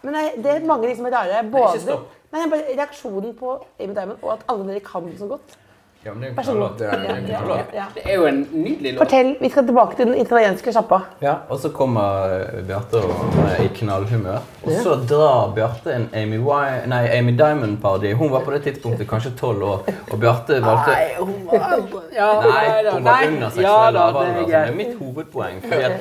Speaker 3: Men nei, det er mange liksom rare
Speaker 5: ikke
Speaker 3: både
Speaker 5: stopp.
Speaker 3: Nei, bare reaksjonen på Amy Diamond, og at alle dere kan den så godt.
Speaker 4: Ja, men det er jo
Speaker 3: Vær så
Speaker 4: knallhårt.
Speaker 3: god.
Speaker 4: Det er jo
Speaker 3: Ja,
Speaker 4: knallhårt.
Speaker 3: ja, ja.
Speaker 9: Det er jo en nydelig låt.
Speaker 3: Fortell, Vi skal tilbake til den italienske sjappa.
Speaker 5: Ja, og så kommer Bjarte og er i knallhumør. Og så drar Bjarte en Amy, Wi- nei, Amy Diamond-parodi. Hun var på det tidspunktet kanskje tolv år, og Bjarte valgte
Speaker 9: Nei, hun var ja,
Speaker 5: Nei, hun var under
Speaker 9: ja,
Speaker 5: seksuell
Speaker 9: da,
Speaker 5: lavalder.
Speaker 9: det er
Speaker 5: altså. Det er
Speaker 9: greit.
Speaker 5: mitt hovedpoeng. fordi at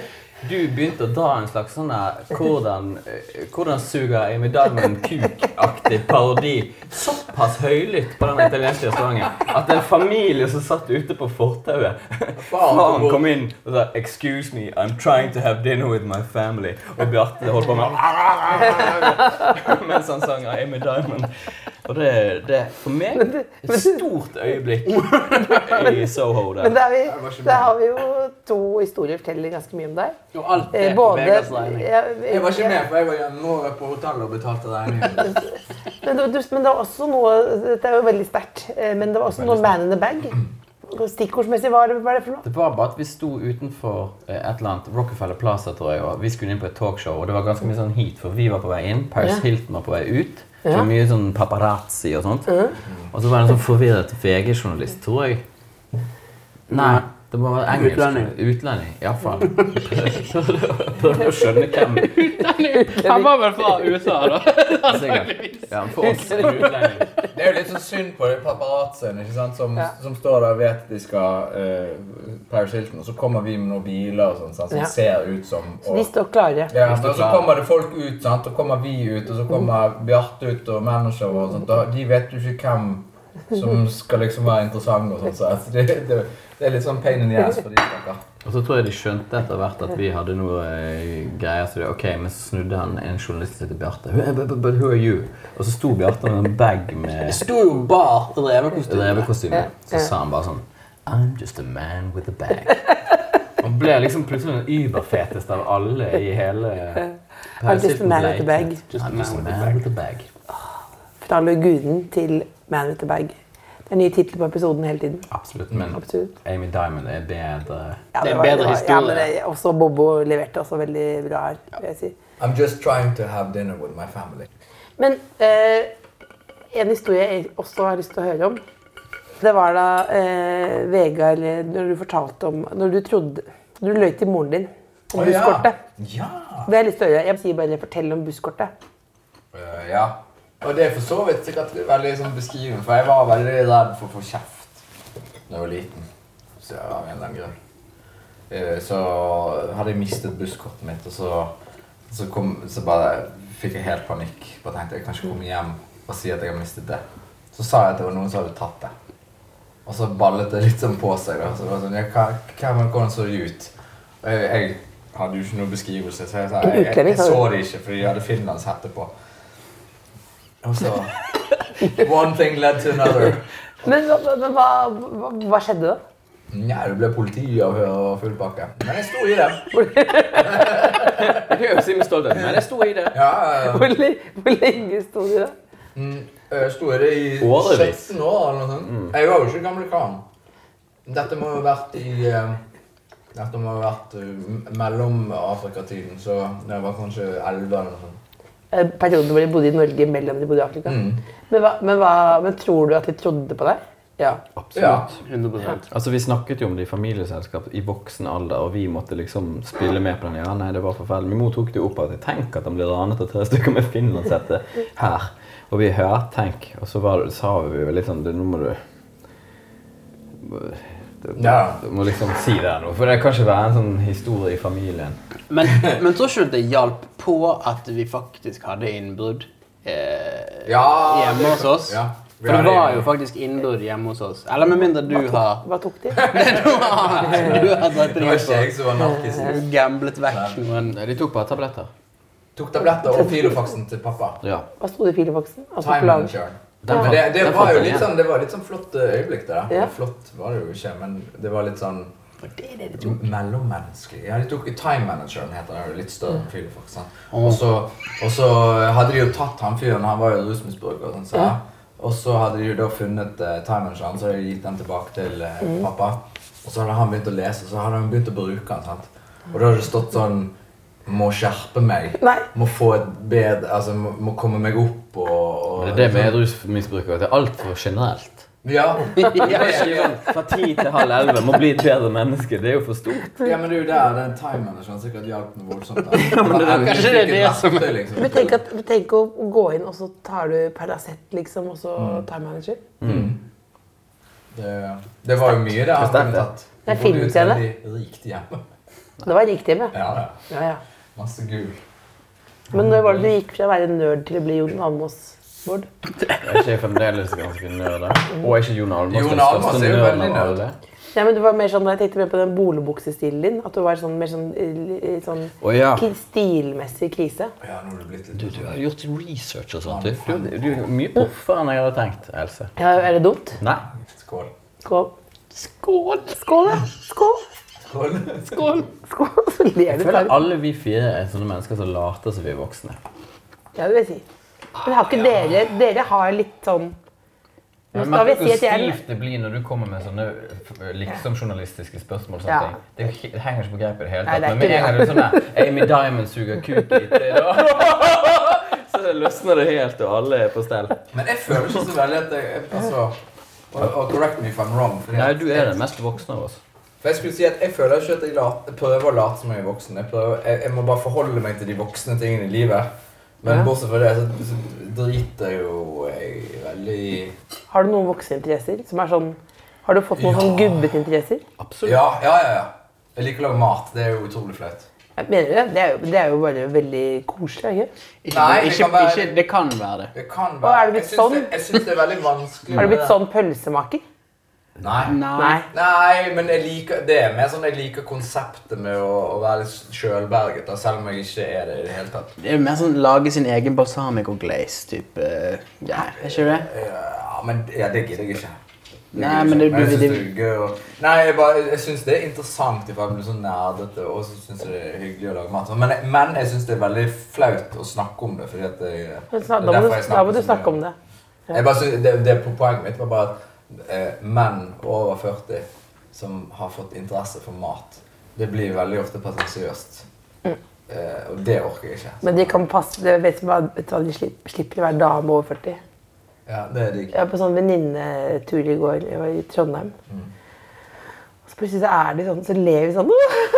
Speaker 5: du begynte å dra en slags sånn der hvordan, eh, 'Hvordan suger Amy Diamond kuk?'-aktig parodi såpass høylytt på den italienske restauranten at en familie som satt ute på fortauet Faren kom inn og sa 'Excuse me, I'm trying to have dinner with my family'. Og Bjarte holdt på med [LAUGHS] mens han sang Amy Diamond. Og det det er for meg et stort øyeblikk i Soho der.
Speaker 3: Men der, vi, der har vi jo to historier forteller ganske mye om deg.
Speaker 9: Og alt
Speaker 3: Eh,
Speaker 9: er på
Speaker 3: Både
Speaker 9: Vegas regning.
Speaker 3: ja,
Speaker 4: Jeg var ikke med, for jeg var hjemme på hotellet og betalte regningen.
Speaker 3: Men det, du- men det var også noe Det er jo veldig sterkt. eh, Men det var også noe Man in the Bag. Stikkordsmessig, hva er det- hva er det for noe?
Speaker 5: Det var bare at vi sto utenfor eh, et eller annet Rockefeller Plaza, tror jeg, og vi skulle inn på et talkshow, og det var ganske mye sånn heat, for vi var på vei inn, Paris Hilton var på vei ut, så det var mye sånn paparazzi og sånt. Og så var det en sånn forvirret VG-journalist, tror jeg. Nei, det var engelsk.
Speaker 9: Utlending.
Speaker 5: Utlending, ja faen. Prøvde å skjønne hvem,
Speaker 9: Han var vel fra USA, da.
Speaker 5: sikkert. Ja, for oss er det utlending.
Speaker 4: Det er jo litt sånn synd på de paparazzoene ikke sant? Som, som står der og vet de skal eh, Paris Hilton, og så kommer vi med noen biler og sånn, sant, som
Speaker 3: Ja.
Speaker 4: ser ut som og,
Speaker 3: De står klare.
Speaker 4: ja, og så kommer det folk ut, sant? og kommer vi ut, og så kommer Bjarte ut og manager og sånt. Og de vet jo ikke hvem som skal liksom være interessant og sånn. Så altså, det, det, det er litt sånn pain in the ass for de stakkar.
Speaker 5: Og så tror jeg de skjønte etter hvert at vi hadde noe eh, greier. Så det, ok, men så snudde han en journalist til Bjarte. Who- but- but- but Who are you? Og så sto Bjarte med en bag med
Speaker 9: Sto jo bart og drev med
Speaker 5: revekostyme. Så sa han bare sånn I'm just a man with a bag. [LAUGHS] Han ble liksom plutselig den überfeteste av alle i hele
Speaker 3: I'm just a man with a bag.
Speaker 5: I'm just a man with a bag.
Speaker 3: Fra Lugunen til Man with the Bag. Det er nye titler på episoden hele tiden.
Speaker 5: Absolutt. Men
Speaker 3: Absolutt.
Speaker 5: Amy Diamond er bedre.
Speaker 3: Ja,
Speaker 9: Det er en
Speaker 3: var-
Speaker 9: bedre
Speaker 3: det var- Ja,
Speaker 9: historie.
Speaker 3: men det, også Bobo leverte også veldig bra her, vil jeg si.
Speaker 4: I'm just trying to have dinner with my family.
Speaker 3: Men eh, en historie jeg også har lyst til å høre om, det var da eh, Vegard Når du fortalte om Når du trodde Du løy til moren din om
Speaker 4: Å, ja.
Speaker 3: busskortet.
Speaker 4: Ja!
Speaker 3: Det har jeg lyst til å gjøre. Jeg sier bare fortell om busskortet.
Speaker 4: Øh, ja. Og det er for så vidt sikkert veldig sånn beskrivende, for jeg var veldig redd for å få kjeft da jeg var liten. Så av en eller annen grunn. Eh, Så hadde jeg mistet busskortet mitt, og så, så, kom, så bare fikk jeg helt panikk. Bare tenkte jeg kan ikke komme hjem og si at jeg har mistet det. Så sa jeg at det var noen som hadde tatt det. Og så ballet det litt sånn på seg. da. Så det var sånn, ja, hva, hva, Hvordan så de ut? Og jeg, jeg hadde jo ikke noen beskrivelse, så jeg, sa, jeg, jeg, jeg,
Speaker 3: Utlending, sa du?
Speaker 4: så de ikke, fordi de hadde finlandshette på. Og så [LAUGHS] One thing led to another.
Speaker 3: Men, hva- hva- men hva, hva, hva skjedde da?
Speaker 4: Nja, det ble politiavhør og full pakke. Men jeg sto i det.
Speaker 5: Det høres ut som stolthet, men det sto i det.
Speaker 4: Ja, ja, ja.
Speaker 3: [LAUGHS] Hvor, le- hvor lenge sto du da?
Speaker 4: Mm, Jeg sto i det i
Speaker 5: Årevis.
Speaker 4: 17 år eller noe sånt. Jeg var jo ikke gammel kran. Dette må jo ha vært i eh, Dette må ha vært eh, mellom Afrikatiden, så det var kanskje 11 eller noe sånt.
Speaker 3: Eh, Perioden hvor de bodde i Norge mellom de bodde i Afrika.
Speaker 4: Mm.
Speaker 3: Men, hva, men, hva, men tror du at de trodde på deg? Ja.
Speaker 4: Absolutt.
Speaker 9: 100
Speaker 5: Altså, Vi snakket jo om det i familieselskap i voksen alder, og vi måtte liksom spille med på den. Ja, nei, det var forferdelig. Min mor tok det jo opp at tenk at han blir ranet av tre stykker med finlandshette her. Og vi hørte tenk, og så var det, sa vi jo litt sånn du, Nå må du du, du,
Speaker 4: Ja.
Speaker 5: du må liksom si det nå, for det kan ikke være en sånn historie i familien.
Speaker 9: Men, men tror ikke du det hjalp på at vi faktisk hadde innbrudd eh,
Speaker 4: Ja,
Speaker 9: hjemme hos oss?
Speaker 4: Ja, vi
Speaker 9: For det
Speaker 4: hadde
Speaker 9: var
Speaker 4: hjemme.
Speaker 9: jo faktisk innbrudd hjemme hos oss. Eller med mindre du har [LAUGHS]
Speaker 3: Hva
Speaker 4: [LAUGHS]
Speaker 3: tok de?
Speaker 9: Du har du har dratt
Speaker 4: Det var
Speaker 9: deg
Speaker 4: ikke jeg
Speaker 9: ut
Speaker 4: som var narkisen.
Speaker 9: og gamblet vekk noen
Speaker 5: Nei, De tok bare tabletter.
Speaker 4: Tok tabletter og filofaxen til pappa.
Speaker 5: Ja.
Speaker 3: Hva sto det i fileboksen? Altså,
Speaker 4: Time
Speaker 3: plan.
Speaker 4: manageren.
Speaker 5: Den
Speaker 4: Men
Speaker 5: fant-
Speaker 4: det, det,
Speaker 5: den
Speaker 4: var
Speaker 5: fant
Speaker 4: jo
Speaker 5: den
Speaker 4: litt
Speaker 5: igjen.
Speaker 4: sånn, det var litt sånn flott eh, øyeblikk, det der.
Speaker 3: Ja.
Speaker 4: Flott var det jo ikke, men det var litt sånn Mellommenneskelig. Ja, de tok Time Manageren, heter det. det er jo Litt større enn Philip, faktisk. sant? Og så- og så hadde de jo tatt han fyren, han var jo rusmisbruker. og Sånn, så, Og så hadde de jo da funnet eh, Time Manageren, så hadde de gitt den tilbake til eh, pappa. Og så hadde han begynt å lese, og så hadde han begynt å bruke den. sant? Og da hadde det stått sånn Må skjerpe meg.
Speaker 3: Nei.
Speaker 4: Må få et bedre Altså, må, må komme meg opp og, og liksom.
Speaker 5: Men det er det med rusmisbrukere. Det er altfor generelt.
Speaker 4: Ja.
Speaker 11: sånn
Speaker 5: Fra ti til halv elleve må bli et bedre menneske. Det er jo for stort.
Speaker 4: ja, men det er jo der den time manageren sikkert hjalp noe voldsomt.
Speaker 5: [LAUGHS]
Speaker 4: da.
Speaker 9: kanskje det er det som-
Speaker 4: Verktøy, liksom.
Speaker 3: Men tenk, at, tenk å gå inn, og så tar du Paracet, liksom, og så
Speaker 5: Mm.
Speaker 3: time manager.
Speaker 4: det, det var jo mye det han
Speaker 5: Sterkt,
Speaker 4: kunne
Speaker 5: det.
Speaker 4: tatt.
Speaker 3: Det er
Speaker 4: Hun bodde jo i et
Speaker 3: filmscene.
Speaker 4: veldig Rikt hjem.
Speaker 3: Det var riktig hjemme.
Speaker 4: Ja, ja.
Speaker 3: Ja, ja.
Speaker 4: Masse gul.
Speaker 3: Men når var det du gikk fra å være nerd til å bli Jon Almaas, Bård?
Speaker 5: Er ikke jeg fremdeles ganske nerd? Og er ikke Jon Almaas
Speaker 4: Jon
Speaker 5: den
Speaker 4: Almaas
Speaker 5: største
Speaker 4: er jo
Speaker 5: nerden
Speaker 4: veldig
Speaker 5: av alle?
Speaker 4: nerd.
Speaker 3: Nei, men det var mer sånn, Jeg tenkte mer på den boligbuksestilen din. At du var sånn, mer sånn, eh, sånn
Speaker 5: Å ja.
Speaker 3: ki- stilmessig krise.
Speaker 4: Ja, nå har du blitt
Speaker 5: Du,
Speaker 4: litt
Speaker 5: du har gjort research og sånt. Du, du, du er mye proffere enn jeg hadde tenkt, Else.
Speaker 3: Ja, er det dumt?
Speaker 5: Nei.
Speaker 4: [LAUGHS] Skål.
Speaker 3: Skål. Skål! Skål, ja. Skål!
Speaker 4: Skål.
Speaker 3: Skål. [LAUGHS] Så ler du.
Speaker 5: Jeg føler
Speaker 3: bare.
Speaker 5: alle vi fire er sånne mennesker som later som vi er voksne.
Speaker 3: Ja, det vil jeg si. Men har ikke dere Dere har litt sånn Nå skal vi
Speaker 5: merker
Speaker 3: si
Speaker 5: hvor
Speaker 3: at jeg er
Speaker 5: stivt det blir når du kommer med sånne f- liksom-journalistiske spørsmål. og sånne
Speaker 3: Ja.
Speaker 5: ting. Det, er jo ikke- det henger ikke på greip i det hele
Speaker 3: Nei,
Speaker 5: tatt.
Speaker 3: det er
Speaker 5: Men med
Speaker 3: ikke
Speaker 5: en gang det er sånn der Amy Diamond suger kuk i det, da [LAUGHS] Så løsner det helt, og alle er på stell.
Speaker 4: Men jeg føler ikke så veldig at jeg jeg- Altså og, og correct me if I'm wrong. Fordi
Speaker 5: Nei,
Speaker 4: at,
Speaker 5: du er den mest voksne av oss.
Speaker 4: for jeg skulle si at jeg føler ikke at jeg lat, prøver å late som jeg er voksen. Jeg, prøver, jeg, jeg må bare forholde meg til de voksne tingene i livet. Men bortsett fra det, så, så driter jeg jo jeg veldig
Speaker 3: Har du noen vokseninteresser som er sånn Har du fått noen sånn gubbete interesser?
Speaker 4: Ja, ja, ja. ja. Jeg liker å lage mat. Det er jo utrolig flaut.
Speaker 3: Jeg Mener du det? Det er jo, det er jo bare veldig koselig. er det Ikke?
Speaker 9: ikke,
Speaker 4: Nei, det
Speaker 9: ikke,
Speaker 4: kan være-
Speaker 9: ikke, Det kan være det.
Speaker 4: Det kan
Speaker 3: Å, er
Speaker 4: være
Speaker 3: det blitt
Speaker 4: jeg syns
Speaker 3: sånn?
Speaker 4: det, jeg syns det er veldig vanskelig.
Speaker 3: Har du
Speaker 4: med
Speaker 3: blitt
Speaker 4: det.
Speaker 3: sånn pølsemaker?
Speaker 4: Nei.
Speaker 3: Nei.
Speaker 4: Nei, men jeg liker, det er mer sånn jeg liker konseptet med å, å være litt sjølberget, da, selv om jeg ikke er det i det hele tatt.
Speaker 9: Det er mer sånn lage sin egen balsamico glaze type ja, Er ikke det?
Speaker 4: Ja, men ja, det gidder jeg ikke. Det
Speaker 9: Nei,
Speaker 4: gidder jeg
Speaker 9: men
Speaker 4: ikke.
Speaker 9: det-
Speaker 4: jeg
Speaker 9: det-
Speaker 4: syns det
Speaker 9: det-
Speaker 4: er gøy å Nei, jeg, bare, jeg syns det er interessant if jeg blir så sånn nerdete, og så syns jeg det er hyggelig å lage mat. Men, jeg- men jeg syns det er veldig flaut å snakke om det, fordi at jeg,
Speaker 3: Da
Speaker 4: det er
Speaker 3: må, du,
Speaker 4: derfor jeg sånn,
Speaker 3: da må du
Speaker 4: så mye
Speaker 3: snakke om det.
Speaker 4: Jeg bare synes, det, det på poenget mitt var bare at eh, menn over 40 som har fått interesse for mat, det blir veldig ofte pretensiøst. Eh, og det orker jeg ikke.
Speaker 3: Mm. Men de kan passe, det vet du, bare- vet du hva, de slipper, slipper å være dame over 40.
Speaker 4: Ja, det er digg.
Speaker 3: Jeg var på sånn venninnetur i går jeg var i Trondheim. Og så plutselig så er de sånn, så ler vi sånn.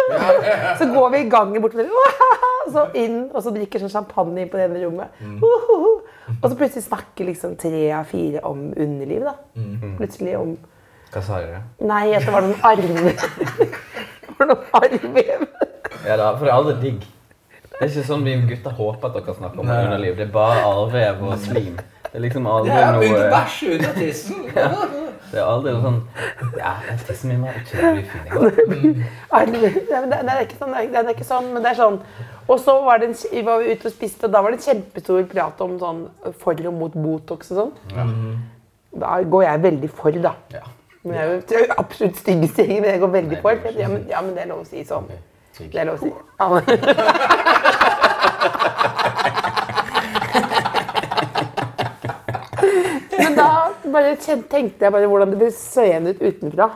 Speaker 3: [LAUGHS] Så går vi i gangen bort til dem. Så inn, [LAUGHS] og så drikker sånn champagne inn på det ene rommet.
Speaker 4: Mm.
Speaker 3: Og så plutselig snakker liksom tre av fire om underlivet. da.
Speaker 4: Mm.
Speaker 3: Plutselig om
Speaker 5: Hva sa de?
Speaker 3: Nei, at det var noen arve... Det var noen arvevev.
Speaker 5: Ja, da, for det er aldri digg. Det er ikke sånn vi gutter håper at dere snakker om i
Speaker 4: Nei.
Speaker 5: underliv. Det er bare arvev og slim. Det er liksom aldri
Speaker 4: Jeg
Speaker 5: noe
Speaker 4: begynte å bæsje under tissen!
Speaker 5: Det
Speaker 11: Det er aldri noe sånn Ja, tissen min var utrolig fin i går.
Speaker 3: Nei, men det, det, er ikke sånn, det, er, det er ikke sånn, men det er sånn. Og så var, det en, kje- var vi ute og spiste, og da var det en kjempestor prat om sånn for og mot Botox og sånn. Da går jeg veldig for, da.
Speaker 11: Ja.
Speaker 3: Men jeg er jo jeg er jo absolutt styggeste gjengen, men jeg går veldig for. Ja men, ja, men det er lov å si sånn. Det er lov å si. Ja, men- [LAUGHS] Men da bare kjen- tenkte jeg bare hvordan det blir seende ut utenfra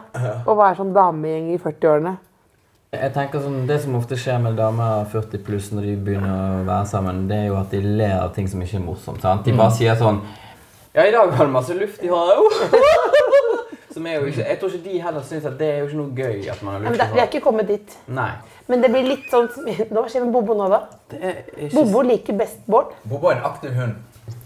Speaker 3: å være sånn damegjeng i 40-årene.
Speaker 5: Jeg tenker sånn, Det som ofte skjer med damer 40 pluss når de begynner å være sammen, det er jo at de ler av ting som ikke er morsomt. sant? De bare sier sånn Ja, i dag var det masse luft i håret. Som er jo ikke, Jeg tror ikke de heller syns at det er jo ikke noe gøy at man har
Speaker 3: Men
Speaker 5: luft
Speaker 3: det,
Speaker 5: i
Speaker 3: vi er
Speaker 5: håret.
Speaker 3: ikke kommet dit.
Speaker 5: Nei.
Speaker 3: Men det blir litt sånn Hva skjer med Bobo nå, da?
Speaker 5: Det er ikke
Speaker 3: Bobo liker best Bård.
Speaker 4: Bobo er en aktiv hund.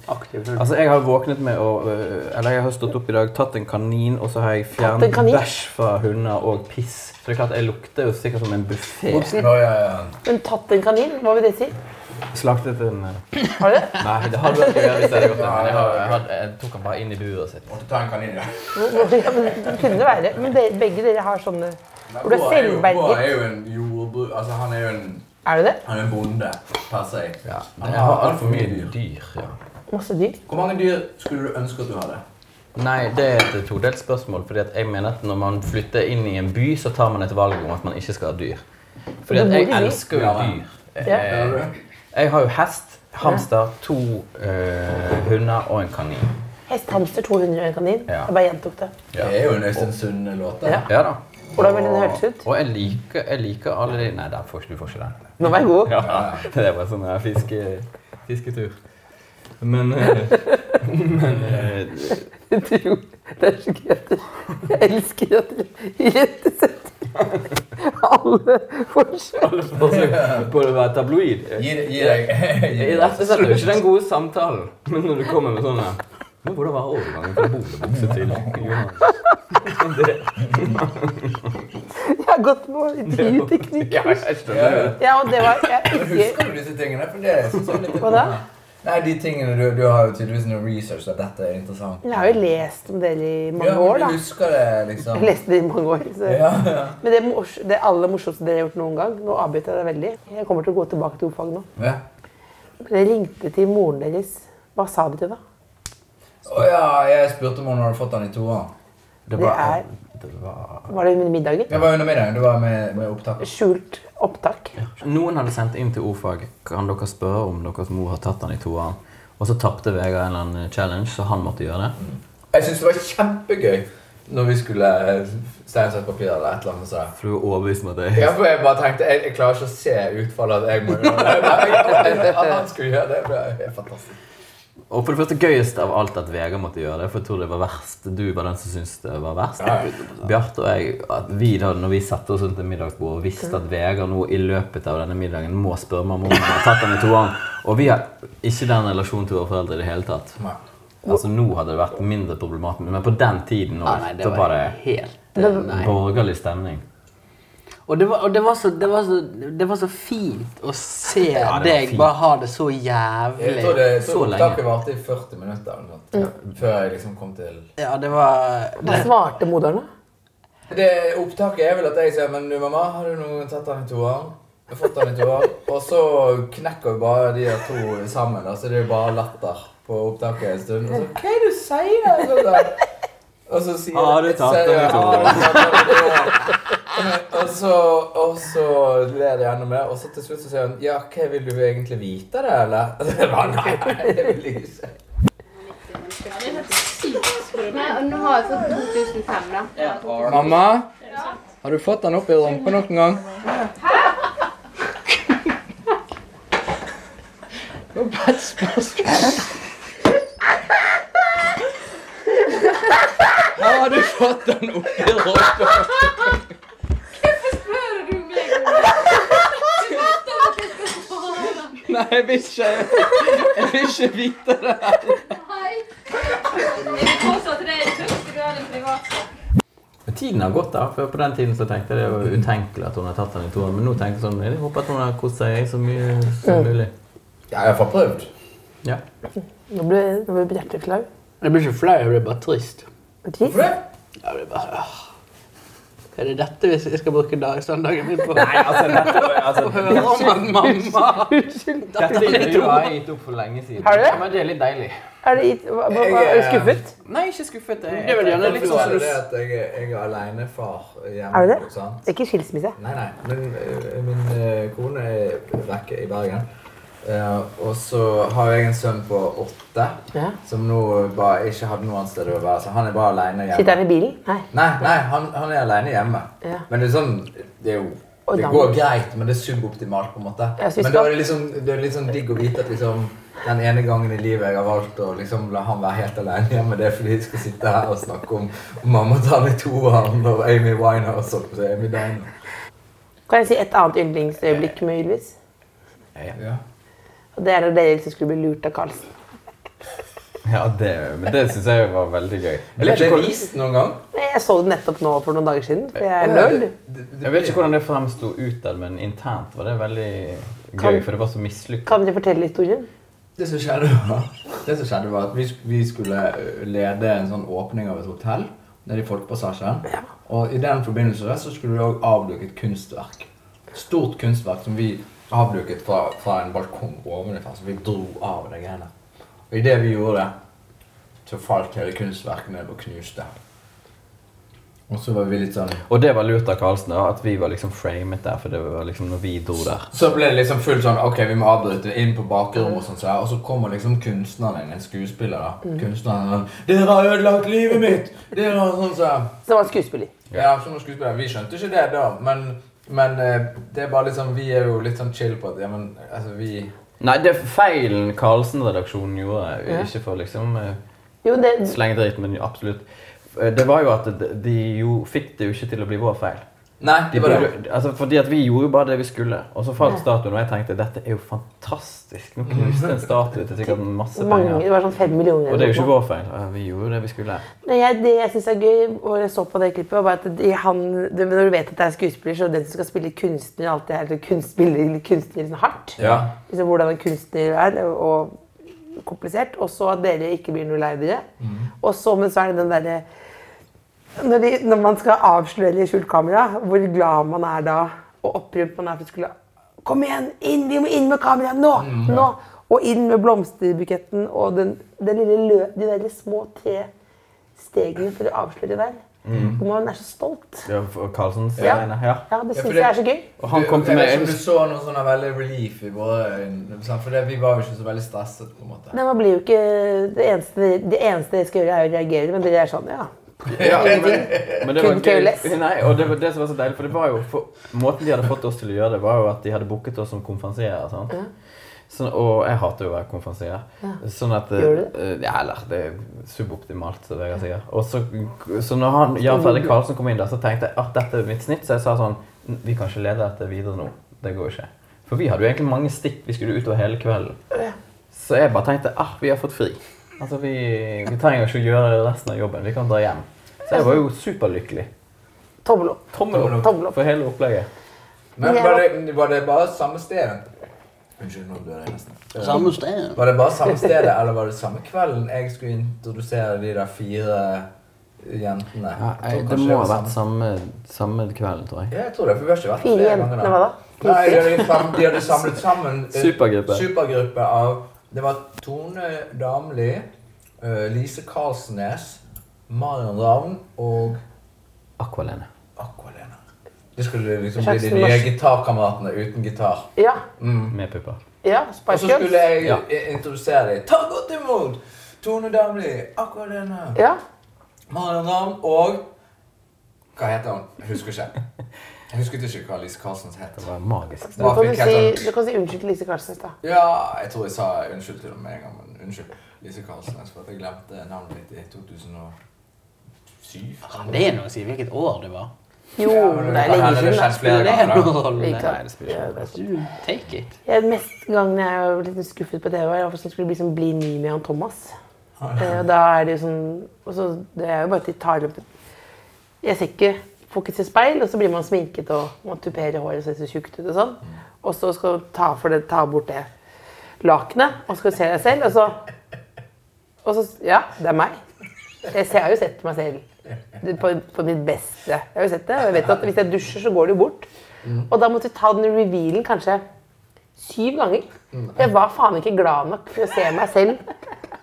Speaker 9: Aktiv hund.
Speaker 5: Altså, Jeg har våknet med å øh, Eller jeg har stått opp i dag, tatt en kanin, og så har jeg
Speaker 3: Tatt en
Speaker 5: fjernet
Speaker 3: kanin?
Speaker 5: bæsj fra hunder og piss. Så det er klart, jeg lukter jo sikkert som en buffé.
Speaker 4: Nå, ja, ja.
Speaker 3: Men tatt en kanin, hva vil det si? [LAUGHS]
Speaker 5: Slaktet en øh,
Speaker 3: Har du det?
Speaker 5: Nei, det hadde vært gøy hvis jeg hadde gjort det, men jeg, har, jeg, hadde, jeg tok den bare inn i buret sitt.
Speaker 4: Måtte ta en kanin, ja.
Speaker 3: Ja, men det kunne det være. Men dere- begge dere har sånne Hvor du er
Speaker 4: Bård jo-
Speaker 3: selvberget.
Speaker 4: Bård er jo en jordbruk... Altså, han er jo en,
Speaker 3: Er du det?
Speaker 4: han er en bonde, per se.
Speaker 5: Jeg har altfor mye
Speaker 4: dyr.
Speaker 5: dyr. ja.
Speaker 3: Masse dyr.
Speaker 4: Hvor mange dyr skulle du ønske at du hadde?
Speaker 5: Nei, det er et todelt spørsmål. fordi at jeg mener at Når man flytter inn i en by, så tar man et valg om at man ikke skal ha dyr. Fordi
Speaker 3: Du
Speaker 5: at
Speaker 3: bor i
Speaker 5: jeg
Speaker 3: by.
Speaker 5: elsker jo
Speaker 4: Ja, ja.
Speaker 5: dyr. Eh,
Speaker 3: Ja.
Speaker 5: Jeg, jeg har jo hest, hamster, to øh, hunder og en kanin.
Speaker 3: Hest, hamster, 200 og en kanin.
Speaker 5: Ja.
Speaker 3: Jeg bare gjentok det.
Speaker 5: Ja.
Speaker 4: Det er jo en Øystein Sunde-låt. da.
Speaker 3: Ja.
Speaker 5: Ja da.
Speaker 3: Hvordan ville den
Speaker 5: Og-
Speaker 3: hørtes ut?
Speaker 5: Og jeg liker, jeg liker alle de Nei, der får ikke, du får ikke den.
Speaker 3: Nå var jeg god. [LAUGHS]
Speaker 5: Ja, [LAUGHS] det var sånn her fiske, fisketur. Men, eh, [LAUGHS] men eh, [LAUGHS]
Speaker 10: Jeg tror det er så gøy at du- jeg elsker at du irettesetter alle forskjell.
Speaker 5: alle forsøk på å være tabloid eh,
Speaker 4: Gi, gi deg [LAUGHS] gi
Speaker 5: Jeg
Speaker 4: deg-
Speaker 5: irettesetter jo ikke den gode samtalen, men når du kommer med sånne Men hvordan var overgangen fra boligbukse til Johan?
Speaker 3: Jeg har gått på intervjuteknikk.
Speaker 5: Ja, jeg skjønner det.
Speaker 3: Ja, og det var jeg ikke
Speaker 4: Husker du disse tingene? For det er sånn, sånn litt
Speaker 3: Hva da?
Speaker 4: Nei, de tingene du, du har jo tydeligvis noe research at dette er interessant.
Speaker 3: Jeg har jo lest om dere i mange
Speaker 4: Ja,
Speaker 3: år,
Speaker 4: men
Speaker 3: da.
Speaker 4: du husker det, liksom.
Speaker 3: Jeg leste det i mange år. Så.
Speaker 4: Ja, ja.
Speaker 3: Men det, mors det aller morsomste dere har gjort noen gang Nå avbryter jeg deg veldig. Jeg kommer til å gå tilbake til ordfag nå.
Speaker 4: ja.
Speaker 3: Dere ringte til moren deres. Hva sa dere da?
Speaker 4: Å ja, jeg spurte om hun hadde fått den i to år.
Speaker 5: Det
Speaker 3: Det
Speaker 5: var,
Speaker 3: er,
Speaker 5: det var
Speaker 3: var det under middagen?
Speaker 4: Jeg var under middagen. Du var med, med opptak.
Speaker 3: skjult opptak.
Speaker 5: Noen hadde sendt inn til ordfag Kan dere spørre om deres mor har tatt den i toeren. Og så tapte Vegard en eller annen challenge, så han måtte gjøre det.
Speaker 4: Jeg syns det var kjempegøy når vi skulle stein, saks, papir eller et eller annet. Så.
Speaker 5: For du var overbevist om at det
Speaker 4: Ja, for jeg bare tenkte Jeg, jeg klarer ikke å se utfallet at jeg må gjøre det. Men At han skulle gjøre det, det er helt fantastisk.
Speaker 5: Og for det første gøyest av alt at Vegard måtte gjøre det, for jeg tror det var verst. Du var den som syntes det var verst. Bjarte og jeg, at vi da, når vi satte oss rundt et middagsbord og visste at Vegard nå i løpet av denne middagen må spørre mamma om hun har tatt den i toeren, og vi har ikke den relasjonen til våre foreldre i det hele tatt.
Speaker 4: Nei.
Speaker 5: Altså Nå hadde det vært mindre problematisk, men på den tiden nå,
Speaker 11: Nei, det
Speaker 5: så var
Speaker 11: var
Speaker 5: det
Speaker 11: helt eh, Nei.
Speaker 5: borgerlig stemning.
Speaker 11: Og det var, og det var, så, det var, så, det var så fint å se
Speaker 5: var
Speaker 11: deg
Speaker 5: fint.
Speaker 11: bare ha det så
Speaker 4: Jeg
Speaker 11: jævlig
Speaker 4: tror det jeg
Speaker 5: Så
Speaker 4: tror
Speaker 5: lenge.
Speaker 4: opptaket varte i 40 minutter eller noe, sånt, før jeg liksom kom til
Speaker 11: Ja, det var
Speaker 3: Hva svarte moderen, da?
Speaker 4: Det Opptaket er vel at jeg sier Men du, mamma, har du noen tatt den i toeren? Jeg har fått den i toeren. Og så knekker vi bare de her to sammen. Da, så det er jo bare latter på opptaket en stund. Og så Hva er det du sier? Så da- Og så sier
Speaker 5: Har du tatt
Speaker 4: sier
Speaker 5: den i
Speaker 4: jeg,
Speaker 5: toeren?
Speaker 4: "Har du tatt den i toeren?" Og så, og så ler de enda mer, og så til slutt så sier hun Ja, hva vil du egentlig vite det, eller? [LAUGHS] Og så jeg bare, nei, nei, det vil jeg ikke.
Speaker 7: Nå har jeg fått 2005, da.
Speaker 4: Mamma, har du fått den opp i rumpa noen gang? Har du fått den opp i rumpa?
Speaker 5: Nei, jeg vil ikke, jeg vil ikke vite det. Men Tiden har gått, da. for På den tiden så tenkte jeg det var utenkelig at hun har tatt den i to år. Men nå tenker jeg sånn, jeg håper at hun har kost seg så mye som mulig.
Speaker 4: Ja, jeg får prøvd.
Speaker 5: Ja.
Speaker 3: Nå ble, nå ble Bjarte flau.
Speaker 11: Jeg blir ikke flau, jeg blir bare trist.
Speaker 3: Trist.
Speaker 4: Hvorfor det?
Speaker 11: Jeg ble bare «Åh, Hva er det dette hvis jeg skal bruke dag, søndagen min på?
Speaker 5: Nei, altså, dette var- altså,
Speaker 11: [LAUGHS] Å høre om at mamma
Speaker 5: Dette
Speaker 11: Dette er
Speaker 5: intervjuet
Speaker 11: litt
Speaker 5: har jeg gitt opp for lenge siden.
Speaker 11: Har du det?
Speaker 5: Men det er litt deilig.
Speaker 3: Er det gitt- hva- hva- hva- er du skuffet?
Speaker 5: Nei, ikke skuffet. Jeg,
Speaker 11: Det er vel gjerne
Speaker 5: litt
Speaker 11: litt
Speaker 5: sånn som
Speaker 4: er
Speaker 5: du...
Speaker 4: det at jeg, er- jeg er alenefar hjemme.
Speaker 3: Er du det?
Speaker 4: Sant?
Speaker 3: Det er ikke skilsmisse.
Speaker 4: Nei, nei. Men eh, min eh, kone er vekke i Bergen. Eh, og så har jeg en sønn på åtte som nå bare ikke hadde noe annet sted å være. Så han er bare aleine hjemme.
Speaker 3: Sitter han i bilen? Nei.
Speaker 4: Nei, nei han, han er aleine hjemme.
Speaker 3: Ja.
Speaker 4: Men det er sånn Det er jo
Speaker 3: Og
Speaker 4: det
Speaker 3: da-
Speaker 4: går greit, men det er suboptimalt. på en måte.
Speaker 3: Ja, så vi
Speaker 4: Men
Speaker 3: skal-
Speaker 4: da er det liksom, det er litt sånn digg å vite at liksom, den ene gangen i livet jeg har valgt å liksom la han være helt alene hjemme, det er fordi jeg skal sitte her og snakke om mamma tar litt toeren og Amy Winehouse og Amy Dine.
Speaker 3: Kan jeg si et annet yndlingsøyeblikk med Ylvis?
Speaker 4: Ja.
Speaker 3: Og Det er når dere liksom skulle bli lurt av Karlsen.
Speaker 5: Ja, det, men det syns jeg var veldig gøy. Jeg
Speaker 4: Ble
Speaker 5: vet,
Speaker 4: det
Speaker 5: ikke hvordan,
Speaker 4: vist noen gang?
Speaker 3: Nei, Jeg så det nettopp nå for noen dager siden. For jeg er
Speaker 4: Ja,
Speaker 3: nerd.
Speaker 4: det- det-
Speaker 5: jeg vet ikke hvordan det fremsto utad, men internt var det veldig gøy, for det var så mislykka.
Speaker 3: Kan dere fortelle historien?
Speaker 4: Det som skjedde var, det som skjedde var at vi, sk- vi skulle ø, lede en sånn åpning av et hotell nede i Folkepassasjen. Og i den forbindelse der så skulle vi også avduke et kunstverk. Stort kunstverk som vi avduket fra, fra en balkong ovenfra. Så vi dro av de greiene. Og idet vi gjorde det, så falt hele kunstverket ned og knuste. Og så var vi litt sånn
Speaker 5: Og det var lurt av Karlsen, da, at vi var liksom framet der, for det var liksom når vi dro der.
Speaker 4: Så ble det liksom fullt sånn Ok, vi må avbryte inn på bakrommet, og sånn så her, og så kommer liksom kunstneren inn, en skuespiller. da
Speaker 5: Mm.
Speaker 4: Kunstneren sånn 'Dere har ødelagt livet mitt!' Dere har sånn så her.
Speaker 3: Som var skuespiller.
Speaker 4: Ja, som en skuespiller. Vi skjønte ikke det da, men, men eh, det er bare liksom Vi er jo litt sånn chill på at Ja, men altså, vi
Speaker 5: Nei, det er feilen Karlsen-redaksjonen gjorde, ikke for liksom eh,
Speaker 3: Jo, det,
Speaker 5: slenge dritt, men absolutt Eh, Det var jo at de- de jo fikk det jo ikke til å bli vår feil.
Speaker 4: Nei,
Speaker 5: De
Speaker 4: det var det.
Speaker 5: burde, altså fordi at Vi gjorde jo bare det vi skulle, og så falt statuen. Og jeg tenkte dette er jo fantastisk.
Speaker 4: Mhm.
Speaker 5: Nå knuste en statue til sikkert masse
Speaker 3: mange, det
Speaker 5: penger.
Speaker 3: var sånn fem millioner.
Speaker 5: Og det
Speaker 3: eller
Speaker 5: er jo ikke
Speaker 3: noe.
Speaker 5: vår feil. Eh, Vi gjorde jo det vi skulle.
Speaker 3: Nei, jeg, det jeg syns er gøy, og jeg så på det klippet, var bare at de, han, det, når du vet at det er skuespiller, så er det den som skal spille kunstner, alltid er litt kunst, spiller litt kunstner liksom hardt.
Speaker 4: Ja.
Speaker 3: Liksom, hvordan en kunstner er, og og komplisert. Og så at dere ikke blir noe lei dere.
Speaker 4: Mm.
Speaker 3: Og så, men så er det den derre når, de, når man skal avsløre i skjult kamera, hvor glad man er da, og opprømt man er for å skulle Kom igjen! Inn, vi må inn med kameraet nå!
Speaker 4: Mm,
Speaker 3: nå! Og inn med blomsterbuketten og den, den lille lø, de der små tre stegene for å avsløre der.
Speaker 4: Mm.
Speaker 3: Hvor man er så stolt.
Speaker 5: Ja, for Karlsens
Speaker 3: Ja.
Speaker 5: ene, ja.
Speaker 3: Ja, Det
Speaker 4: for
Speaker 3: syns
Speaker 4: det-
Speaker 3: jeg er så gøy.
Speaker 5: Og han kom
Speaker 4: Du-
Speaker 5: til
Speaker 4: jeg
Speaker 5: meg
Speaker 4: vet ikke om Du så noe sånn veldig relief i våre øyne, sant, for det, vi var jo ikke så veldig stresset, på en måte.
Speaker 3: Nei, man blir jo ikke, det, eneste, det eneste jeg skal gjøre, er å reagere, men dere er sånn, ja.
Speaker 5: Ja, men, men det var
Speaker 3: Couldn't care less.
Speaker 5: gøy. Nei, og det var det som var så deilig, for det var jo for, måten de hadde fått oss til å gjøre det, var jo at de hadde booket oss som konferansierer. sant? Sånn, og jeg hater jo å være konferansier. Sånn at, eh,
Speaker 3: Gjør du
Speaker 5: eh, Ja, eller det er suboptimalt, som Vegard sier. Og så, så når han, Jan Fredrik Karlsen kom inn der, så tenkte jeg at dette er mitt snitt, så jeg sa sånn Vi kan ikke lede dette videre nå. Det går ikke. For vi hadde jo egentlig mange stikk. Vi skulle utover hele kvelden. Så jeg bare tenkte ah, vi har fått fri. Altså, vi, vi trenger ikke å gjøre resten av jobben. Vi kan dra hjem. Så jeg var jo superlykkelig.
Speaker 3: Tommel opp.
Speaker 5: Tommel opp,
Speaker 3: Tommel opp.
Speaker 5: for hele opplegget.
Speaker 4: Men var det, var det bare samme sted? Unnskyld, nå dør jeg nesten. Eh,
Speaker 11: Samme sted.
Speaker 4: Var det bare samme stedet, eller var det samme kvelden jeg skulle introdusere de der fire jentene? Jeg tror
Speaker 5: det
Speaker 4: kanskje
Speaker 5: må ha
Speaker 4: var
Speaker 5: vært samme, samme kvelden, tror jeg.
Speaker 4: Ja, jeg tror det, for vi har ikke vært
Speaker 3: Fire
Speaker 4: flere ganger
Speaker 3: jentene, hva
Speaker 4: da.
Speaker 3: da?
Speaker 4: Nei, de hadde, fam- de hadde samlet sammen eh,
Speaker 5: Supergruppe.
Speaker 4: supergruppe av Det var Tone Damli, eh, Lise Karlsnes, Marion Ravn og
Speaker 5: Aqualene.
Speaker 4: Aqualena. Det skulle liksom bli de
Speaker 3: Jackson
Speaker 4: nye
Speaker 3: Mars.
Speaker 4: gitarkameratene uten gitar.
Speaker 3: Ja,
Speaker 5: Med pupper.
Speaker 3: ja,
Speaker 4: Og
Speaker 3: Spice
Speaker 4: så
Speaker 3: Girls.
Speaker 4: skulle jeg
Speaker 5: Ja.
Speaker 4: i- introdusere dem. Ta godt imot Tone Damli, Aqualena
Speaker 3: Ja,
Speaker 4: Marion Ravn og Hva heter han? Jeg husker ikke. Jeg husket ikke hva Lise Carlsens het.
Speaker 5: Det var magisk.
Speaker 3: du
Speaker 4: Hva
Speaker 3: kan,
Speaker 4: fikk
Speaker 3: jo
Speaker 4: jeg sånn?
Speaker 3: si, du kan si unnskyld til Lise Karlsnes, da.
Speaker 4: Ja, jeg tror jeg sa unnskyld til dem med en gang, men unnskyld. Lise Carlsnes, for at jeg glemte navnet mitt i 2007.
Speaker 11: Kan det noe å si hvilket år det var?
Speaker 3: Jo, det er lenge siden. da.
Speaker 11: Det er
Speaker 4: siden.
Speaker 11: noe rolle.
Speaker 3: Ikke sant? Ja, det er sant.
Speaker 11: Du, Take it.
Speaker 3: Jeg, mest gangen jeg var litt skuffet på TV, var jeg som skulle bli, sånn, bli ny med han Thomas. Eh, og da er det jo sånn og så, Det er jo bare at de tar det opp Jeg ser ikke fokus i speil, og så blir man sminket og man tuperer håret og ser så tjukt ut og sånn. Og så skal du ta, for det, ta bort det lakenet, og så skal du se deg selv, og så Og så Ja, det er meg. Jeg ser, jeg har jo sett meg selv Det- På, på mitt beste. Jeg har jo sett det. og Jeg vet at Hvis jeg dusjer, så går det jo bort. Og da måtte vi ta den revealen kanskje syv ganger.
Speaker 4: Mm,
Speaker 3: Jeg var faen ikke glad nok for å se meg selv.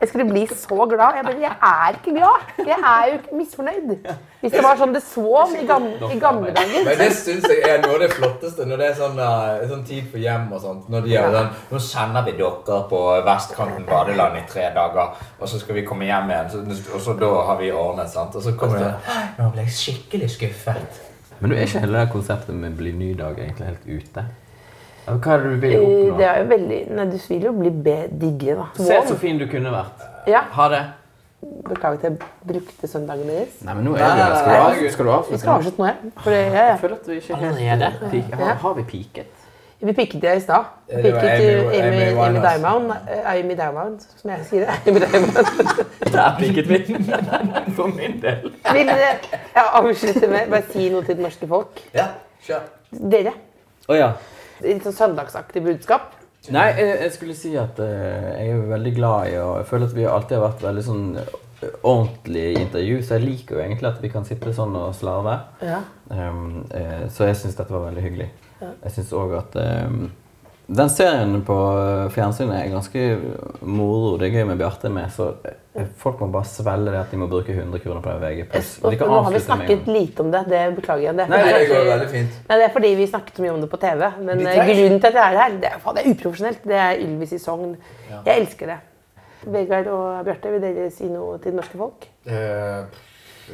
Speaker 3: Jeg skulle bli så glad. Jeg bare, jeg er ikke glad. Jeg er jo ikke misfornøyd. Hvis det var sånn det svom i gamle, i gamle dager.
Speaker 4: Men det syns jeg er noe av det flotteste når det er sånn, eh, sånn tid på hjem og sånt. Når de er sånn Nå sender vi dere på vestkanten badeland i tre dager, og så skal vi komme hjem igjen. Så, og så da har vi ordnet, sant. Og så kommer det Nå ble jeg skikkelig skuffet.
Speaker 5: Men du er ikke hele det konseptet med bli ny dag egentlig helt ute? Altså, Hva er det du vil
Speaker 3: Eh, Det
Speaker 5: oppnå?
Speaker 3: er jo veldig Nei, du vil jo bli be- diggere, da. Sånn.
Speaker 5: Se så
Speaker 3: Våren.
Speaker 5: fin du kunne vært.
Speaker 3: Ja.
Speaker 5: Ha det.
Speaker 3: Beklager at jeg brukte søndagen deres.
Speaker 5: Nei, men nå
Speaker 4: er Nei, vi- nei, skal du nei, av- nei.
Speaker 5: Skal du
Speaker 3: Vi skal avslutte nå, ja. For det, ja, ja.
Speaker 9: føler at vi ikke helt Pik- har, har vi piket?
Speaker 3: Vi pikket det i stad. Vi
Speaker 4: Det var
Speaker 3: Pikket
Speaker 4: Amy-
Speaker 3: Amy, Amy,
Speaker 4: Amy Winehouse.
Speaker 3: Diamond, eh, Amy Diamond, som jeg sier det. Amy Diamond.
Speaker 9: Der
Speaker 5: [LAUGHS]
Speaker 9: piket vi! For min del.
Speaker 3: [LAUGHS] Vil dere jeg avslutter med bare si noe til det norske folk?
Speaker 4: Ja, kjør.
Speaker 3: Dere.
Speaker 9: Å ja.
Speaker 3: Litt sånn søndagsaktig budskap.
Speaker 5: Nei, jeg, jeg skulle si at eh, jeg er jo veldig glad i og Jeg føler at vi alltid har vært veldig sånn eh, ordentlige i intervju, så jeg liker jo egentlig at vi kan sitte sånn og slarve.
Speaker 3: Ja.
Speaker 5: Um, eh, så jeg syns dette var veldig hyggelig. Jeg syns òg at um, den serien på eh, fjernsynet er ganske moro. Det er gøy med Bjarte med, så eh, folk må bare svelge det at de må bruke 100 kroner på en VG+.
Speaker 3: Og
Speaker 5: De kan
Speaker 3: nå har vi
Speaker 5: avslutte med en
Speaker 3: snakket
Speaker 5: gang.
Speaker 3: lite om det. Det beklager jeg. Det er
Speaker 5: Nei,
Speaker 3: fordi-
Speaker 4: Det går veldig fint.
Speaker 3: Nei, det er fordi vi snakket så mye om det på TV. Men eh, grunnen til at jeg er her, det er, faen, det er uprofesjonelt. Det er Ylvis i Sogn. Jeg elsker det. Vegard og Bjarte, vil dere si noe til det norske folk?
Speaker 4: Eh,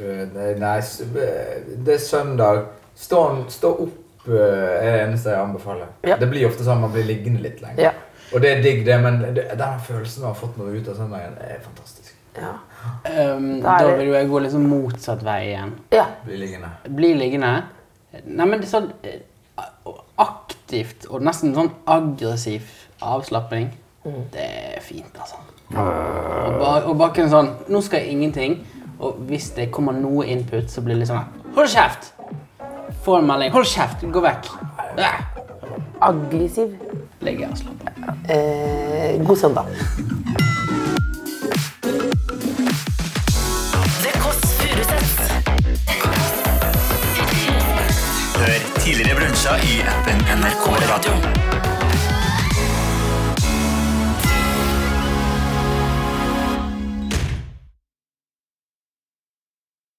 Speaker 4: eh, nei, nei, s- eh, det er søndag. Stå, stå opp eh, er det eneste jeg anbefaler.
Speaker 3: Ja.
Speaker 4: Det blir ofte sånn man blir liggende litt lenger.
Speaker 3: Ja.
Speaker 4: Og det er digg, det, men det, den følelsen av å ha fått noe ut av søndagen er fantastisk.
Speaker 9: Um,
Speaker 3: Da er
Speaker 9: da
Speaker 3: det-
Speaker 9: vil jo jeg gå liksom motsatt vei igjen.
Speaker 3: Ja.
Speaker 4: Bli liggende.
Speaker 9: Bli liggende. Nei, men det er sånn eh, aktivt og nesten sånn aggressiv avslapping.
Speaker 3: Mm.
Speaker 9: Det er fint, altså.
Speaker 5: Øh.
Speaker 9: Og bare, og bare kunne sånn Nå skal jeg ingenting. Og hvis det kommer noe input, så blir det litt sånn Hold kjeft! Få en melding. Hold kjeft! Gå vekk. Ja.
Speaker 3: Aggressiv.
Speaker 9: Ligger jeg og slapper av.
Speaker 3: Eh, god søndag.
Speaker 2: Det Kåss Furuseths.
Speaker 12: Hør tidligere brunsja i appen NRK Radio.